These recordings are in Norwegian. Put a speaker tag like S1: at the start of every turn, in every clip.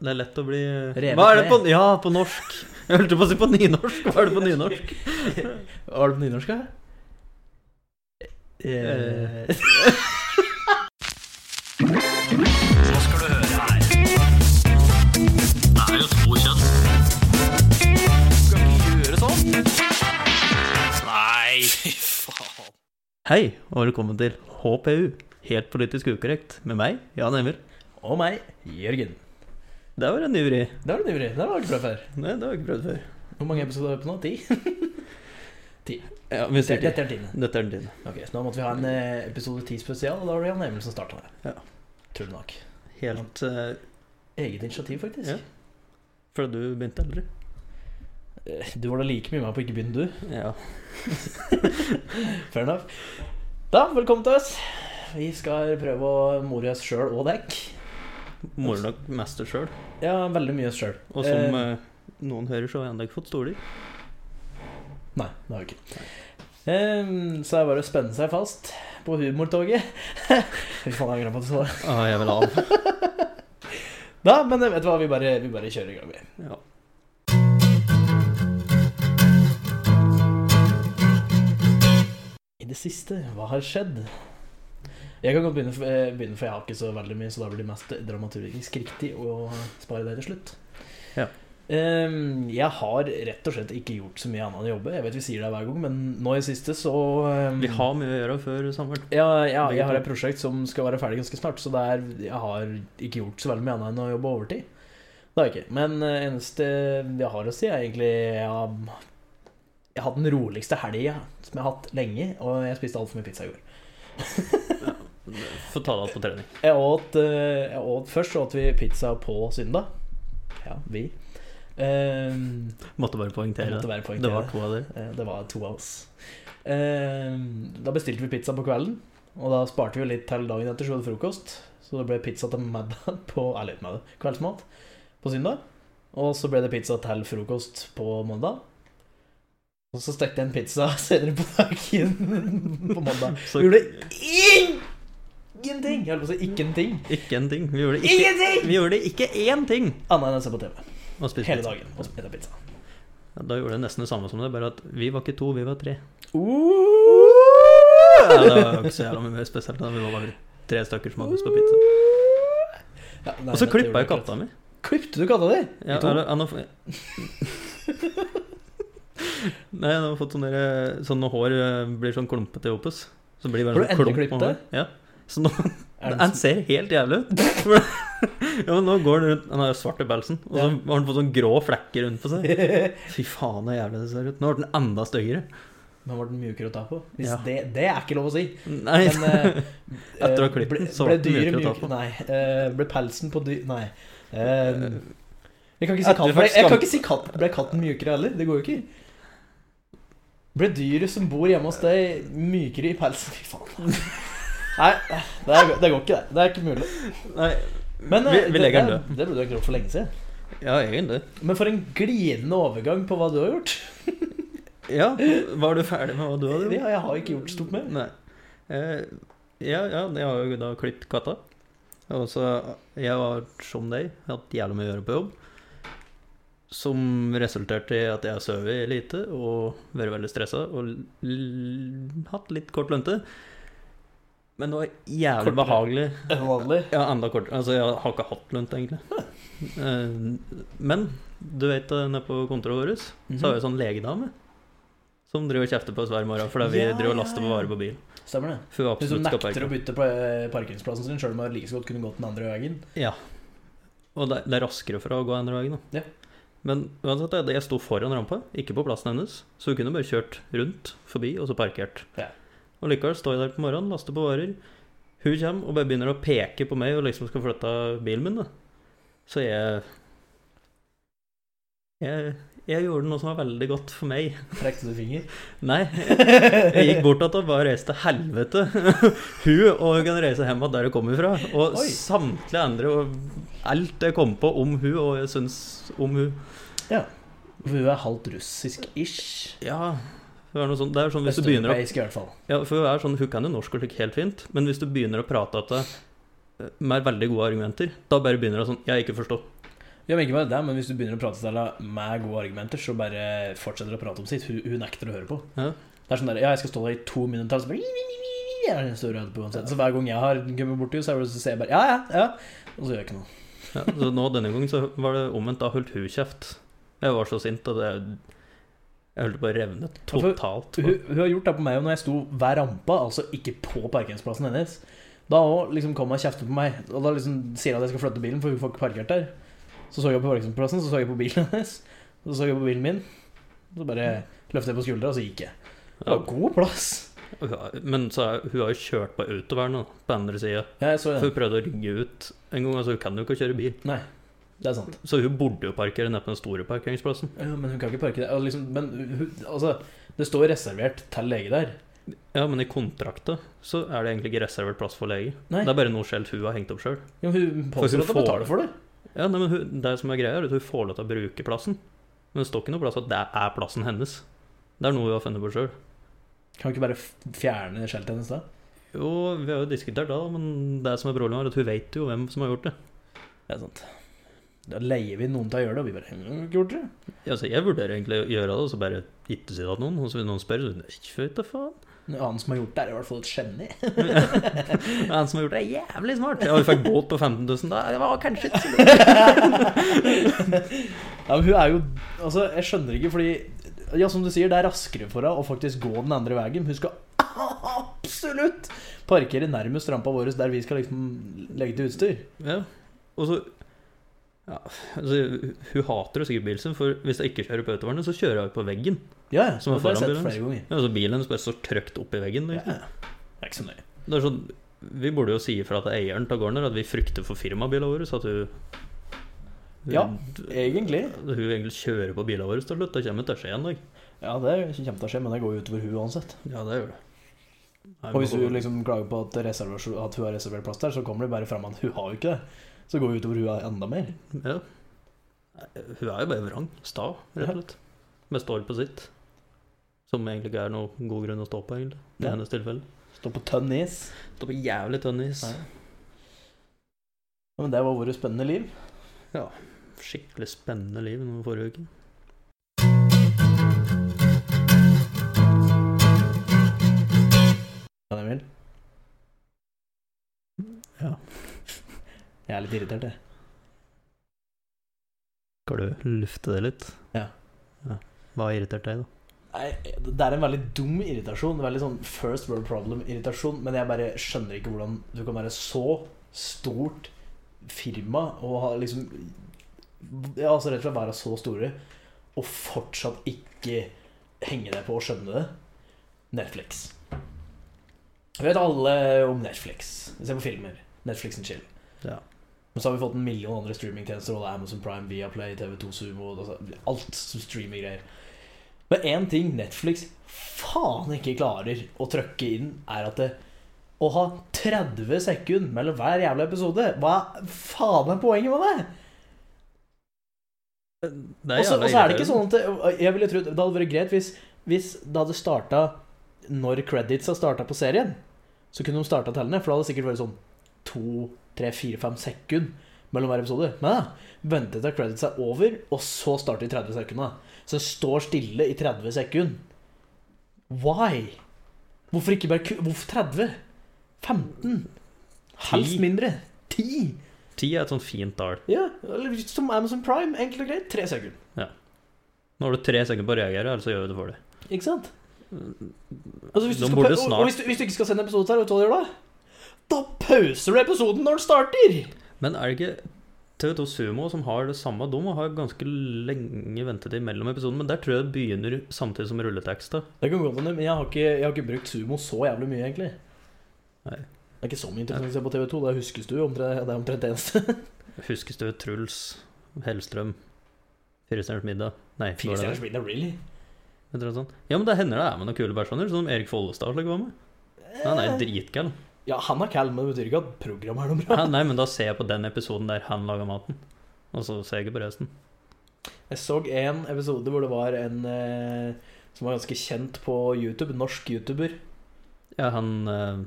S1: Det er lett å bli eh,
S2: Revet
S1: Hva er det på
S2: med.
S1: Ja, på norsk. Jeg holdt på å si på nynorsk. Hva er det på nynorsk?
S2: Hva er det på nynorsk, da? Eh,
S1: Hei, og velkommen til HPU, helt politisk ukorrekt, med meg, Jan Emil.
S2: og meg, Jørgen.
S1: Det var en ny vri.
S2: Det var du ivrig. Det har du ikke prøvd før.
S1: Nei, det har jeg ikke prøvd før.
S2: Hvor mange episoder er vi på nå? Ti?
S1: Ja, vi sier
S2: Dette
S1: ti.
S2: er tiende.
S1: Dette er den tiende.
S2: Ok, så nå måtte vi ha en eh, episode ti spesial, og da var det Jan Emil som starta det.
S1: Ja.
S2: Tror du nok.
S1: Helt eh,
S2: Eget initiativ, faktisk.
S1: Ja. fordi du begynte aldri.
S2: Eh, Du var da like mye med på ikke begynne, du.
S1: Ja.
S2: Fair enough. Da, velkommen til oss. Vi skal prøve å more oss sjøl og dekk.
S1: Moro nok mest sjøl.
S2: Ja, veldig mye oss sjøl.
S1: Og som eh, noen hører, så har jeg ennå ikke fått stoler.
S2: Nei, det har vi ikke. Ehm, så er det bare å spenne seg fast på humortoget. Fy faen, jeg angrer på at du sa det.
S1: Ah, jeg vil av.
S2: Da, men eh, vet du hva, vi bare, vi bare kjører i gang, vi.
S1: Ja.
S2: I det siste, hva har skjedd? Jeg kan godt begynne, for- eh, begynne for jeg har ikke så veldig mye, så da blir det mest dramaturgisk riktig å spare det til slutt.
S1: Ja.
S2: Ehm, jeg har rett og slett ikke gjort så mye annet enn å jobbe. Jeg vet vi sier det hver gang, men nå i det siste så ehm,
S1: Vi har mye å gjøre før sommeren.
S2: Ja, ja, jeg har et prosjekt som skal være ferdig ganske snart, så det er, jeg har ikke gjort så veldig mye annet enn å jobbe overtid. Det har jeg ikke. Men eh, eneste jeg har å si, er egentlig jeg har, jeg har hatt den roligste helga som jeg har hatt lenge, og jeg spiste altfor mye pizza i går.
S1: Få ta deg opp på trening.
S2: Jeg åt, eh, jeg åt Først så åt vi pizza på søndag. Ja, vi. Eh,
S1: Måtte bare
S2: jeg
S1: poengtere det.
S2: måtte være
S1: Det var
S2: poengtert.
S1: to av dere.
S2: Eh, Det var to av oss. Eh, Da bestilte vi pizza på kvelden, og da sparte vi litt til dagen etter, så vi hadde frokost. Så det ble pizza til middag på eller ikke middag, kveldsmat på søndag. Og så ble det pizza til frokost på mandag. Og så stekte jeg en pizza senere på dagen på mandag.
S1: Så
S2: Vi gjorde ingenting! Jeg holdt på å si ingenting.
S1: ikke en ting. Vi gjorde ikke,
S2: Ingenting!
S1: vi gjorde ikke én ting!
S2: Annet enn å se på TV
S1: Og spise
S2: hele
S1: pizza.
S2: dagen og spise pizza.
S1: Ja, Da gjorde jeg nesten det samme som det, bare at vi var ikke to, vi var tre. Ja, det var jo ikke så jævla mye mer spesielt. da. Vi var bare tre stykker som hadde lyst på pizza.
S2: Ja, nei,
S1: Og så
S2: dette
S1: klippa
S2: gjorde
S1: jeg katta mi.
S2: Klippte du katta di?
S1: Ja,
S2: I to?
S1: eller, ja, nå får jeg- Nei, den har fått sånne, der- sånn når hår eh, blir sånn klumpete i opus. Så blir det
S2: Har
S1: bare
S2: du
S1: sånn
S2: endelig
S1: klump på
S2: klippet det?
S1: håret. Ja. Så nå,
S2: Er det
S1: den ser helt jævlig ut. ja, men nå går den rundt Han har jo svart i pelsen, og så har han fått sånn grå flekker rundt på seg. Fy faen, så jævlig det ser ut. Nå ble den enda styggere.
S2: Men var den mjukere å ta på? Hvis
S1: Ja.
S2: det, det er ikke lov å si.
S1: Nei.
S2: Men eh,
S1: Etter å ha
S2: eh,
S1: klippet
S2: ble-
S1: den, så
S2: ble
S1: var den
S2: dyret
S1: mjukere å ta
S2: mjuk-
S1: på.
S2: Nei. eh, ble pelsen på dyr Nei. Eh, jeg kan ikke si
S1: Etter vi
S2: katt,
S1: fikk
S2: jeg kan
S1: skam-
S2: ikke si katt Ble katten mjukere heller? Det går jo ikke. Ble dyret som bor hjemme hos deg, mykere i pelsen? Fy faen. Nei, det, er, det går ikke, det. Det er ikke mulig.
S1: Nei.
S2: Men eh,
S1: vi, vi legger den
S2: det,
S1: død.
S2: det, det burde du ha gjort for lenge siden.
S1: Ja, egentlig.
S2: Men for en glidende overgang på hva du har gjort.
S1: Ja, var du ferdig med hva du hadde
S2: Ja, jeg har ikke gjort stort mer.
S1: Nei. Eh, ja, ja, jeg har jo da klippet katta. Og så Jeg var som deg, hatt jævlig mye å gjøre på jobb. Som resulterte i at jeg har sovet lite og vært veldig stressa og l l hatt litt kort lunte. Men det var jævlig
S2: Kortere.
S1: behagelig.
S2: Enn vanlig.
S1: Ja, enda kortere. Altså, jeg har ikke hatt lunt, egentlig. Eh, Men du vet, eh, nede på kontoret vårt
S2: Mhm.
S1: så har vi sånn legedame som driver og kjefter på oss hver morgen fordi vi
S2: Ja,
S1: driver og
S2: ja,
S1: laster
S2: ja.
S1: på varer på bil.
S2: Stemmer det.
S1: For vi
S2: Du som
S1: absolutt skal
S2: nekter å
S1: parke.
S2: bytte pla- parkeringsplassen sin, sjøl om jeg like så godt kunne gått den andre veien.
S1: Og det det er raskere for å gå andre veien. da.
S2: Ja.
S1: Men uansett, jeg- jeg sto foran rampa, ikke på plassen hennes, så hun kunne bare kjørt rundt, forbi, og så parkert.
S2: Ja.
S1: Og likevel står jeg der på morgenen, laster på varer. Hun kommer og bare begynner å peke på meg og liksom skal flytte bilen min. da. Så jeg Jeg, jeg gjorde noe som var veldig godt for meg.
S2: Trekte du finger?
S1: Nei, Jeg gikk bort til henne og bare reiste til helvete. Hun og hun kan reise hjem igjen der hun kommer fra. Og
S2: Oi.
S1: samtlige andre og alt jeg kom på om hun, og jeg syns om hun
S2: For hun er halvt russisk-ish.
S1: Ja, hun er noe sånn, det er sånn hvis du begynner å
S2: Østeuropeisk i hvert fall.
S1: ja, For hun er sånn, hun kan jo norsk og slik helt fint, men hvis du begynner å prate at det med veldig gode argumenter, da bare begynner hun sånn Jeg ikke forstår.
S2: Ja, men ikke bare det, men hvis du begynner å prate til deg med gode argumenter, så bare fortsetter å prate om sitt. Hun, hun nekter å høre på.
S1: Ja.
S2: Det er sånn der, ja, jeg skal stå der i to minutter til, så bare jeg er den store høyde på uansett. Så hver gang jeg har kommet borti henne, så er det- så sier jeg bare ja, ja, ja. Og så gjør jeg ikke noe.
S1: Ja, så nå denne gangen så var det omvendt. Da holdt hun kjeft. Jeg var så sint at jeg, jeg holdt på å revne totalt.
S2: Hun, hun har gjort det på meg og når jeg sto ved rampa, altså ikke på parkeringsplassen hennes. Da òg liksom kom hun og kjeftet på meg, og da liksom sier hun at jeg skal flytte bilen, for hun får ikke parkert der. Så så jeg på parkeringsplassen, så så jeg på bilen hennes, så så jeg på bilen min. Så bare løftet jeg på skuldra, og så gikk jeg. Det
S1: Ja,
S2: var god plass.
S1: men så er, hun har jo kjørt på autovern nå, på andre sida.
S2: Ja, jeg så
S1: For
S2: det.
S1: hun prøvde å rygge ut en gang, altså hun kan jo ikke kjøre bil.
S2: Nei, det er sant.
S1: Så hun burde jo parkere nede på den store parkeringsplassen.
S2: Ja, men hun kan ikke parke der. Og Liksom, men hun, altså, det står reservert til lege der.
S1: Ja, men i kontrakta så er det egentlig ikke reservert plass for lege.
S2: Nei.
S1: Det er bare noe skjelt hun har hengt opp sjøl.
S2: Ja, men hun
S1: For hun
S2: påstår at hun
S1: får-
S2: betaler for det.
S1: Ja, nei, men hun, det som er greia, er at hun får lov til å bruke plassen. Men det står ikke noe plass at det er plassen hennes. Det er noe hun har funnet på sjøl.
S2: Kan hun ikke bare f- fjerne skjeltet hennes da?
S1: Jo, vi har jo diskutert det, da, men det som er problemet, er at hun vet jo hvem som har gjort det.
S2: Det er sant. Da leier vi noen til å gjøre det, og vi bare «Hm, har ikke gjort det.
S1: Ja, så jeg vurderer egentlig å gjøre det, og så bare ikke si det til noen. Og så vil noen spørre, så ikke vet da faen.
S2: En annen som har gjort det, er i hvert fall et geni.
S1: Men Han som har gjort det, er jævlig smart. Ja, vi fikk båt på 15 000, da. Det var kanskje ikke så lurt.
S2: ja, men hun er jo Altså, jeg skjønner ikke, fordi Ja, som du sier, det er raskere for henne å faktisk gå den andre veien. Hun skal absolutt parkere nærmest rampa vår der vi skal liksom legge til utstyr.
S1: Ja, og så ja, altså, Hun hater jo sikkert bilen sin, for hvis jeg ikke kjører på autovernet, så kjører jeg jo på veggen.
S2: Ja, ja.
S1: Som er
S2: det har jeg
S1: foran
S2: sett
S1: bilen
S2: flere ganger.
S1: Ja, altså, bilen hennes bare står trygt oppi veggen.
S2: Ja,
S1: Liksom.
S2: ja. Det er ikke så nøye.
S1: Det er sånn, vi burde jo si ifra til eieren til gården her at vi frykter for firmabilen vår, så at hun hun-
S2: Ja, egentlig.
S1: At Hun egentlig kjører på bilen vår til slutt. Da kommer hun til å skje en dag.
S2: Ja, det kommer til å skje, men det går jo utover hun uansett.
S1: Ja, det gjør det. Nei,
S2: Og hvis
S1: men-
S2: hun liksom klager på at, reservasjon- at hun har reservert plass der, så kommer det bare fram at hun har jo ikke det. Så går det utover hun enda mer.
S1: Ja. Nei, Hun er jo bare vrang. Sta, rett og slett. Men står på sitt. Som egentlig ikke er noen god grunn å stå på, egentlig. I
S2: Ja.
S1: hennes tilfelle.
S2: Står på tønn is.
S1: Står på jævlig tønn is.
S2: Ja. Ja, Men det var våre spennende liv.
S1: Skikkelig spennende liv nå forrige uke.
S2: Ja, Emil?
S1: Ja.
S2: Jeg er litt irritert, jeg.
S1: Skal du lufte det litt?
S2: Ja.
S1: ja. Hva har irritert deg, da?
S2: Nei, det er en veldig dum irritasjon. En veldig sånn first world problem-irritasjon. Men jeg bare skjønner ikke hvordan du kan være så stort firma og ha liksom Ja, altså rett og slett være så store og fortsatt ikke henge deg på og skjønne det. Netflix. Vi vet alle om Netflix. Vi ser på filmer. Netflix and chill.
S1: Ja.
S2: Men så har vi fått en million andre streamingtjenester. Og det er Amazon Prime, Viaplay, TV2 Sumo altså, Alt som streamer greier. Men én ting Netflix faen ikke klarer å trøkke inn, er at det å ha 30 sekunder mellom hver jævla episode Hva faen er poenget med det?
S1: Det
S2: Og så
S1: jævla
S2: og så Eh, er det ikke
S1: irriterende.
S2: sånn at det, jeg ville trodd, det hadde vært greit hvis, hvis det hadde starta når creditsa starta på serien. Så kunne de starta tellene, for det hadde sikkert vært sånn to, tre, fire, fem sekunder mellom hver episode. Men ja, vente til creditsa er over, og så starte i 30 sekunder. Så det står stille i 30 sekunder. Why? Hvorfor ikke bare ku- Hvorfor 30? 15? Helst
S1: Ti.
S2: mindre. 10?
S1: Ti er et sånt fint tall.
S2: Ja, eller som Amazon Prime, enkelt og greit. Tre sekunder.
S1: Nå har du tre sekunder på å reagere, eller så gjør vi det for deg.
S2: Ikke sant? Altså, hvis du
S1: De
S2: skal
S1: burde
S2: pau-
S1: snart-
S2: og hvis du, hvis du ikke skal sende episode her, vet du hva du gjør da? Da pauser du episoden når den starter!
S1: Men er det ikke TV2 Sumo som har det samme? De har ganske lenge ventetid mellom episodene, men der tror jeg det begynner samtidig som rulleteksta.
S2: Det kan godt hende, men jeg har, ikke, jeg har ikke brukt Sumo så jævlig mye, egentlig.
S1: Nei.
S2: Det er ikke så mye interessant å se på TV2. Det huskes du omtrent, det er omtrent det eneste.
S1: Huskes du Truls Hellstrøm? Firestjerners middag? Nei, var
S2: Fire
S1: det
S2: stjerners middag, really?
S1: det? Et eller annet sånt. Ja, men det hender det er med noen kule personer, som Erik Follestad slik var med. Men Han
S2: Eh.
S1: er jo dritgal.
S2: Ja, han er kall, men det betyr ikke at programmet er noe bra.
S1: Ja, nei, men da ser jeg på den episoden der han laga maten, og så ser jeg ikke på resten.
S2: Jeg så en episode hvor det var en eh, som var ganske kjent på YouTube, norsk YouTuber.
S1: Ja, han eh,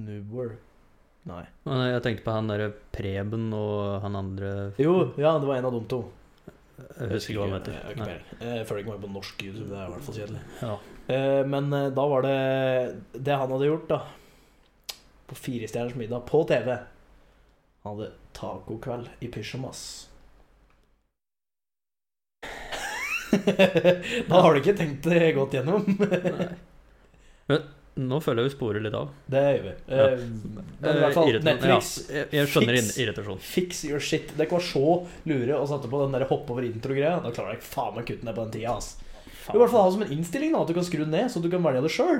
S2: Noobwar. Nei.
S1: Men jeg tenkte på han derre Preben og han andre
S2: Jo, ja, det var en av de to.
S1: Jeg husker ikke hva han heter.
S2: Jeg har ikke
S1: Nei.
S2: peiling. Jeg følger ikke med på norsk YouTube, det er i hvert fall kjedelig.
S1: Ja.
S2: Eh, Men eh, da var det det han hadde gjort, da. På Firestjerners middag på TV. Han hadde tacokveld i pysjamas. da har du ikke tenkt det godt gjennom.
S1: Nei. Men nå føler jeg vi sporer litt av.
S2: Det gjør vi.
S1: Ja.
S2: Eh, Men i
S1: Eh,
S2: hvert fall,
S1: irritasjon.
S2: Netflix
S1: Ja, jeg, jeg skjønner
S2: Fix.
S1: irri- irritasjon.
S2: Fix your shit. Dere var så lure og satte på den der hopp over intro-greia. Da klarer jeg ikke faen meg å kutte ned på den tida. ass. Du kan i hvert fall ha som en innstilling da, at du kan skru den ned, så du kan velge det sjøl.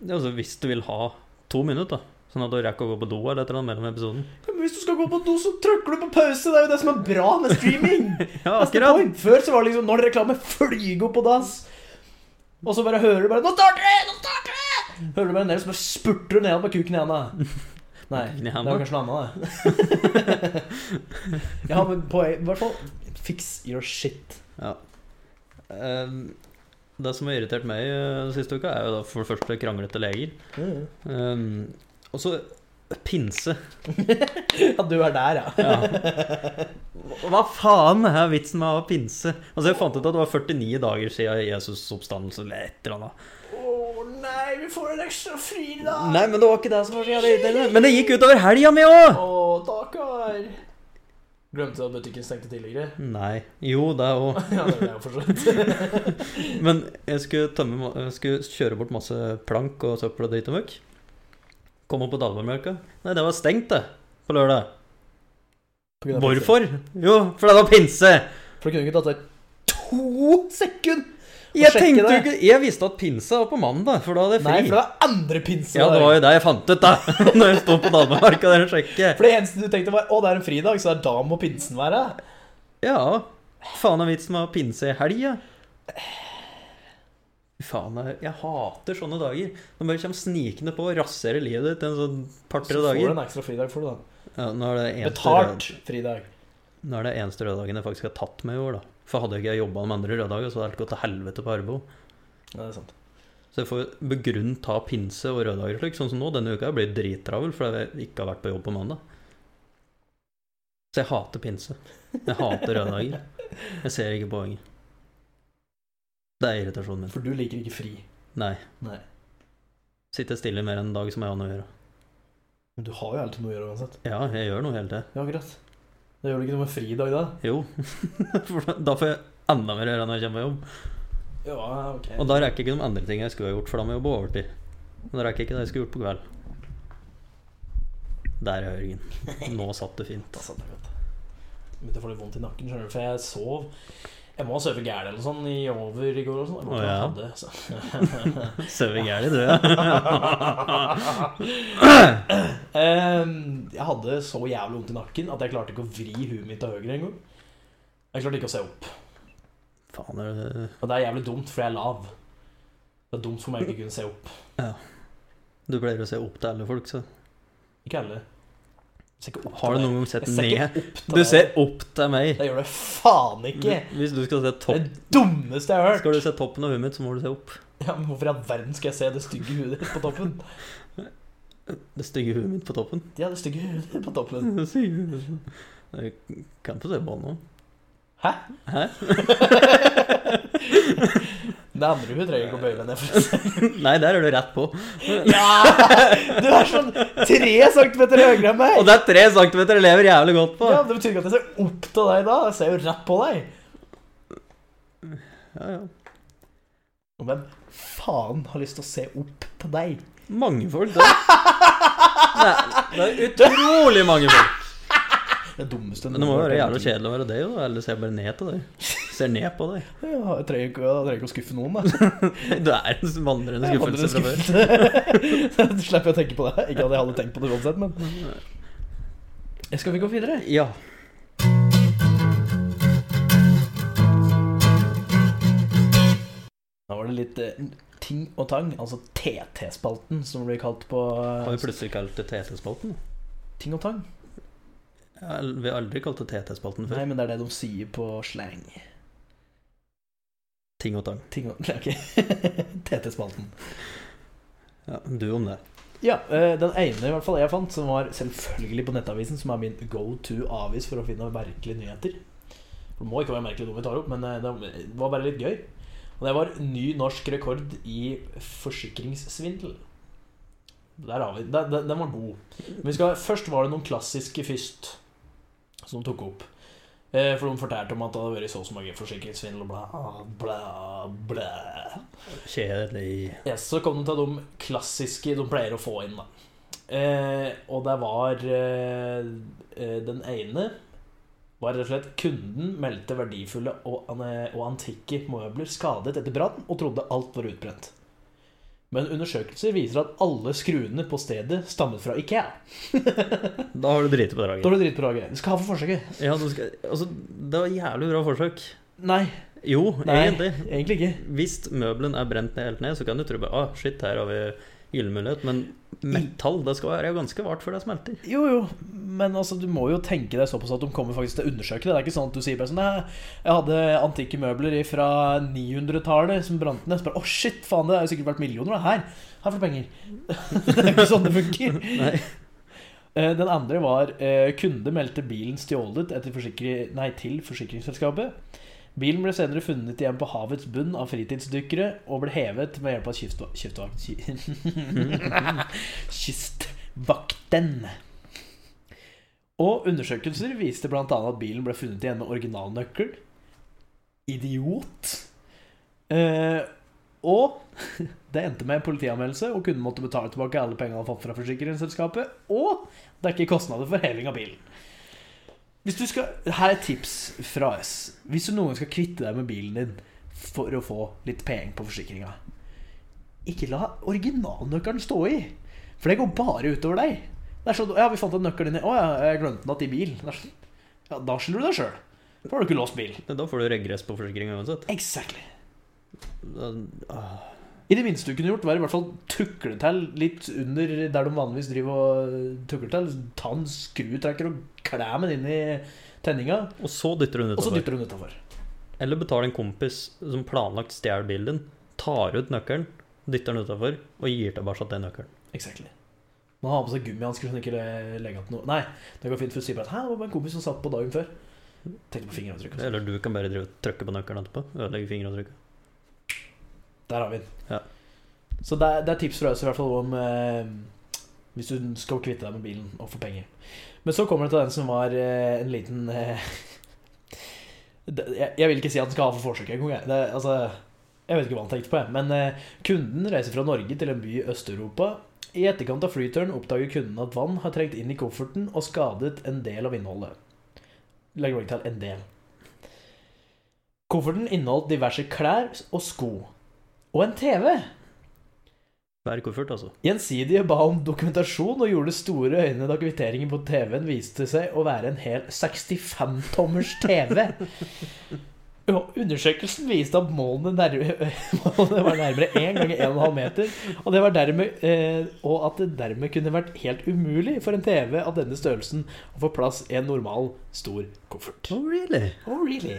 S1: Ja, altså, hvis du vil ha to minutter, da, sånn at du rekker å gå på do eller et eller annet mellom episoden.
S2: Hvis du skal gå på do, så trykker du på pause. Det er jo det som er bra med streaming.
S1: Ja,
S2: Neste
S1: akkurat!
S2: point. Før så var det liksom når det er reklame, flyg opp på dass. Og så bare hører du bare 'Nå starter det! Nå starter det!' Hører du bare en del som bare spurter du ned med kuken i handa. Nei,
S1: Kuken i
S2: det
S1: handa?
S2: var kanskje noe annet, det. ja, men på, i hvert fall fix your shit.
S1: Ja. Ehm, det som har irritert meg eh, siste uka, er jo da for det første kranglete leger. Ehm, og så pinse.
S2: Ja, du er der, ja.
S1: Ja. Hva faen er vitsen med å ha pinse? Altså, jeg fant ut at det var 49 dager siden Jesus' oppstandelse eller et eller annet.
S2: Å nei, vi får en ekstra fridag!
S1: Nei, men det var ikke det som var så jævlig irriterende. Men det gikk utover helga mi òg!
S2: Å, takkar! Glemte at butikken stengte tidligere.
S1: Nei. Jo, det òg.
S2: Ja, det ble jeg jo for så vidt.
S1: Men jeg skulle, tømme, ma- jeg skulle kjøre bort masse plank og søppel og dritt og møkk. Kom opp på Dalmarmarka. Nei, det var stengt, det. På lørdag. Hvorfor? Jo, fordi det var pinse.
S2: For det kunne ikke tatt deg to sekunder!
S1: Jeg
S2: sjekke
S1: tenkte jo
S2: det.
S1: ikke Jeg visste at pinse var på mandag, for da hadde jeg
S2: Nei, for
S1: fri.
S2: det var andre pinse.
S1: Ja, det
S2: der.
S1: var jo det jeg fant ut, da. Når jeg sto på Dalmarmarka der og sjekket.
S2: For det eneste du tenkte var å, det er en fridag, så er da må pinsen være.
S1: Ja. Faen er vitsen med å ha pinse i helga? Faen, jeg, jeg hater sånne dager. De bare kommer snikende på og raserer livet ditt en sånn
S2: Så
S1: par-tre
S2: får du
S1: dager.
S2: en ekstra fridag for det, da.
S1: Ja, nå, er det eneste rød,
S2: Betalt fridag.
S1: nå er det eneste røddagen jeg faktisk har tatt med i år, da. For hadde jeg ikke jobba med andre røddager, så hadde det gått til helvete på arbeid.
S2: Ja, det er sant.
S1: Så jeg får begrunn ta pinse og røddager og slik. Sånn som nå, denne uka blir jeg drittravel fordi jeg ikke har vært på jobb på mandag. Så jeg hater pinse. Jeg hater røddager. Jeg ser ikke poenget. Det er irritasjonen min.
S2: For du liker ikke fri.
S1: Nei.
S2: Nei.
S1: Sitter stille mer enn en dag som jeg har noe å gjøre.
S2: Men du har jo alltid noe å gjøre uansett.
S1: Ja, jeg gjør noe hele tida.
S2: Ja, akkurat. Det gjør du ikke noe med fridag da?
S1: Jo. For da- da får jeg enda mer å gjøre når jeg kommer på jobb.
S2: Ja, ok.
S1: Og da rekker jeg ikke de andre tingene jeg skulle ha gjort, for da må jeg jobbe overtid. Men da rekker jeg ikke det jeg skulle gjort på kveld. Der er Jørgen. Nå satt det fint.
S2: Da satt jeg altså, godt. Begynte å få litt vondt i nakken, skjønner du, for jeg sov. Jeg må ha sovet gæren eller noe sånt i over i går. og sånn. Jeg må
S1: Å,
S2: ta
S1: ja.
S2: hadde, så.
S1: Sover gæren, du, ja.
S2: Ehm, jeg hadde så jævlig vondt i nakken at jeg klarte ikke å vri huet mitt til høyre engang. Jeg klarte ikke å se opp.
S1: Faen, er det
S2: Og det er jævlig dumt, for jeg er lav. Det er dumt for meg å ikke kunne se opp.
S1: Du pleier å se opp til alle folk, så
S2: Ikke alle. Jeg ser ikke opp
S1: Har du
S2: til
S1: noen
S2: deg.
S1: gang sett
S2: Jeg ser
S1: ned?
S2: ikke opp til
S1: Du
S2: deg.
S1: ser opp til meg.
S2: Det gjør du faen ikke!
S1: Hvis du skal se
S2: Det er
S1: topp
S2: det dummeste jeg har hørt.
S1: Skal du se toppen av huet mitt, så må du se opp.
S2: Ja, men Hvorfor i all verden skal jeg se det stygge huet ditt på toppen?
S1: Det stygge huet mitt på toppen.
S2: Ja, det stygge huet ditt på toppen.
S1: Jeg kan få se på han nå.
S2: Hæ?
S1: Hæ?
S2: Det andre hun trenger ikke å bøye deg ned for.
S1: Nei, der er du rett på.
S2: Ja! Du er sånn tre centimeter høyere enn
S1: Og
S2: meg!
S1: det er tre centimeter jeg lever jævlig godt på.
S2: Ja, Det betyr ikke at jeg ser opp til deg da. Jeg ser jo rett på deg.
S1: Ja, ja.
S2: Og hvem faen har lyst til å se opp til deg?
S1: Mange folk, da. Nei, det er utrolig mange folk.
S2: Det dummeste
S1: Men det må jo være jævlig kjedelig å være deg, da. Eller ser jeg bare ned til deg. Ser ned på deg.
S2: Ja, jeg trenger ikke, jeg trenger ikke å skuffe noen, da.
S1: Du er en vandrende skuffelse fra før.
S2: Så slipper jeg å tenke på det. Ikke at jeg hadde tenkt på det uansett, men Skal vi gå videre?
S1: Ja.
S2: Da var det litt eh, ting og tang, altså TT-spalten, som blir kalt på eh,
S1: Har vi plutselig kalt det TT-spalten?
S2: Ting og tang.
S1: Ja, Vi har aldri kalt det TT-spalten
S2: Nei,
S1: før.
S2: men det er det de sier på slang.
S1: Ting og tang.
S2: Ting og Ok. TT-spalten.
S1: Ja, du om det.
S2: Ja, eh, Den ene i hvert fall jeg fant, som var selvfølgelig på Nettavisen, som er min go to-avis for å finne merkelige nyheter. For Det må ikke være merkelig dumme vi tar opp, men eh, det var bare litt gøy. Og det var ny norsk rekord i forsikringssvindel. Der har vi Den, den- den var god. Men vi skal, først var det noen klassiske først som tok opp. Eh, For de fortalte om at det hadde vært så og så mange forsikringssvindel og bla, bla, bla.
S1: Kjedelig.
S2: Yes, så kom den til de klassiske de pleier å få inn, da. Eh, og det var eh, eh, Den ene var rett og slett kunden meldte verdifulle og, an- og antikke møbler skadet etter brann, og trodde alt var utbrent. Men undersøkelser viser at alle skruene på stedet stammet fra Ikea.
S1: Da har du driti på draget.
S2: Dårlig dritt på laget. Du skal ha for forsøket.
S1: Ja, du skal, altså, det var jævlig bra forsøk.
S2: Nei,
S1: Jo,
S2: Nei.
S1: egentlig.
S2: egentlig ikke.
S1: Hvis møbelen er brent ned helt ned, så kan du tro bare, ah, shit, her har vi gyllenmulighet.
S2: Mm.
S1: Men metall det skal være ganske vart før det smelter.
S2: Jo, jo, men altså, du må jo tenke deg såpass at de kommer faktisk til å undersøke det. Det er ikke sånn at du sier bare sånn Nei, jeg hadde antikke møbler fra 900-tallet som brant ned. Så bare Å, shit, faen, det har jo sikkert vært millioner, da. Her! Her får du penger. det er ikke sånn det funker.
S1: Nei.
S2: Eh, Den andre var eh, kunde meldte bilen stjålet etter forsikri- nei, til forsikringsselskapet. Bilen ble senere funnet igjen på havets bunn av fritidsdykkere og ble hevet med hjelp av kystvak- kystvak- ky- kystvakten. Og undersøkelser viste bl.a. at bilen ble funnet igjen med originalnøkkel. Idiot. Eh, og det endte med en politianmeldelse, og kunden måtte betale tilbake alle pengene han fant fra forsikringsselskapet, og dekke kostnader for heving av bilen. Hvis du skal, her er et tips fra oss. Hvis du noen gang skal kvitte deg med bilen din for å få litt penger på forsikringa, ikke la originalnøkkelen stå i. For det går bare utover deg. Det er sånn, ja, vi fant en nøkkel inni Å ja, jeg glemte den igjen i bil. Det er sånn, ja, da skylder du deg sjøl. For da har du ikke låst bil.
S1: Da får du regress på forsikringa uansett.
S2: Exactly.
S1: Da, ah,
S2: I det minste du kunne gjort, var i hvert fall tukle til litt under der de vanligvis driver og tukler til. Ta en skrutrekker og klem den inn i tenninga,
S1: og så dytter du den
S2: og så
S1: utafor.
S2: dytter du den utafor.
S1: Eller betal en kompis som planlagt stjeler bilen din, tar ut nøkkelen, dytter den utafor og gir tilbake den nøkkelen.
S2: Exactly. Man har på seg gummihansker så man ikke le- legger igjen noe Nei, det går fint, for å si bare at 'hæ, det var bare en kompis som satt på dagen før'. Tenkte på fingeravtrykk. og sånn. sånt.
S1: Eller du kan bare drive og trykke på nøkkelen etterpå. Ødelegge fingeravtrykket.
S2: Der har vi den.
S1: Ja.
S2: Så det er, det er tips fra oss i hvert fall om eh, hvis du skal kvitte deg med bilen og få penger. Men så kommer det til den som var eh, en liten eh, det, jeg, jeg vil ikke si at den skal ha for forsøk engang. jeg. Det er- Altså, jeg vet ikke hva han tenkte på, jeg. Men eh, kunden reiser fra Norge til en by i Øst-Europa. I etterkant av flyturen oppdager kunden at vann har trengt inn i kofferten og skadet en del av innholdet. Legg merke til 'en del'. Kofferten inneholdt diverse klær og sko. Og en TV!
S1: Hver koffert, altså.
S2: Gjensidige ba om dokumentasjon og gjorde store øyne da kvitteringen på TV-en viste seg å være en hel 65-tommers TV. Og Undersøkelsen viste at målene, nærme, målene var nærmere 1 ganger 1,5 meter, og, det var dermed, eh, og at det dermed kunne vært helt umulig for en TV av denne størrelsen å få plass i en normal, stor koffert.
S1: Oh, really?
S2: Oh, really?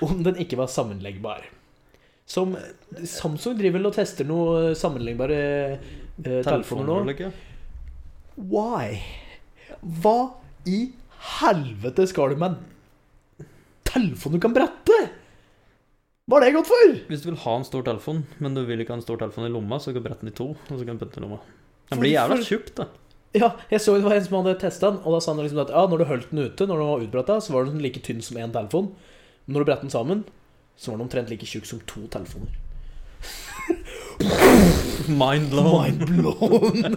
S2: Om den ikke var sammenleggbar. Som Samsung driver vel og tester noe sammenleggbare eh, telefoner nå.
S1: Telefonøyeblikket.
S2: Why? Hva i helvete skal du med en telefon du kan brette? Hva er det godt for?
S1: Hvis du vil ha en stor telefon, men du vil ikke ha en stor telefon i lomma, så kan du brette den i to, og så kan du putte den i lomma. Den blir jævla tjukk, da.
S2: Ja, jeg så det var en som hadde testa den, og da sa han liksom at ja, når du holdt den ute, når den var utbretta, så var den like tynn som én telefon. Men når du brettet den sammen, så var den omtrent like tjukk som to telefoner.
S1: Mind blown.
S2: Mind blown!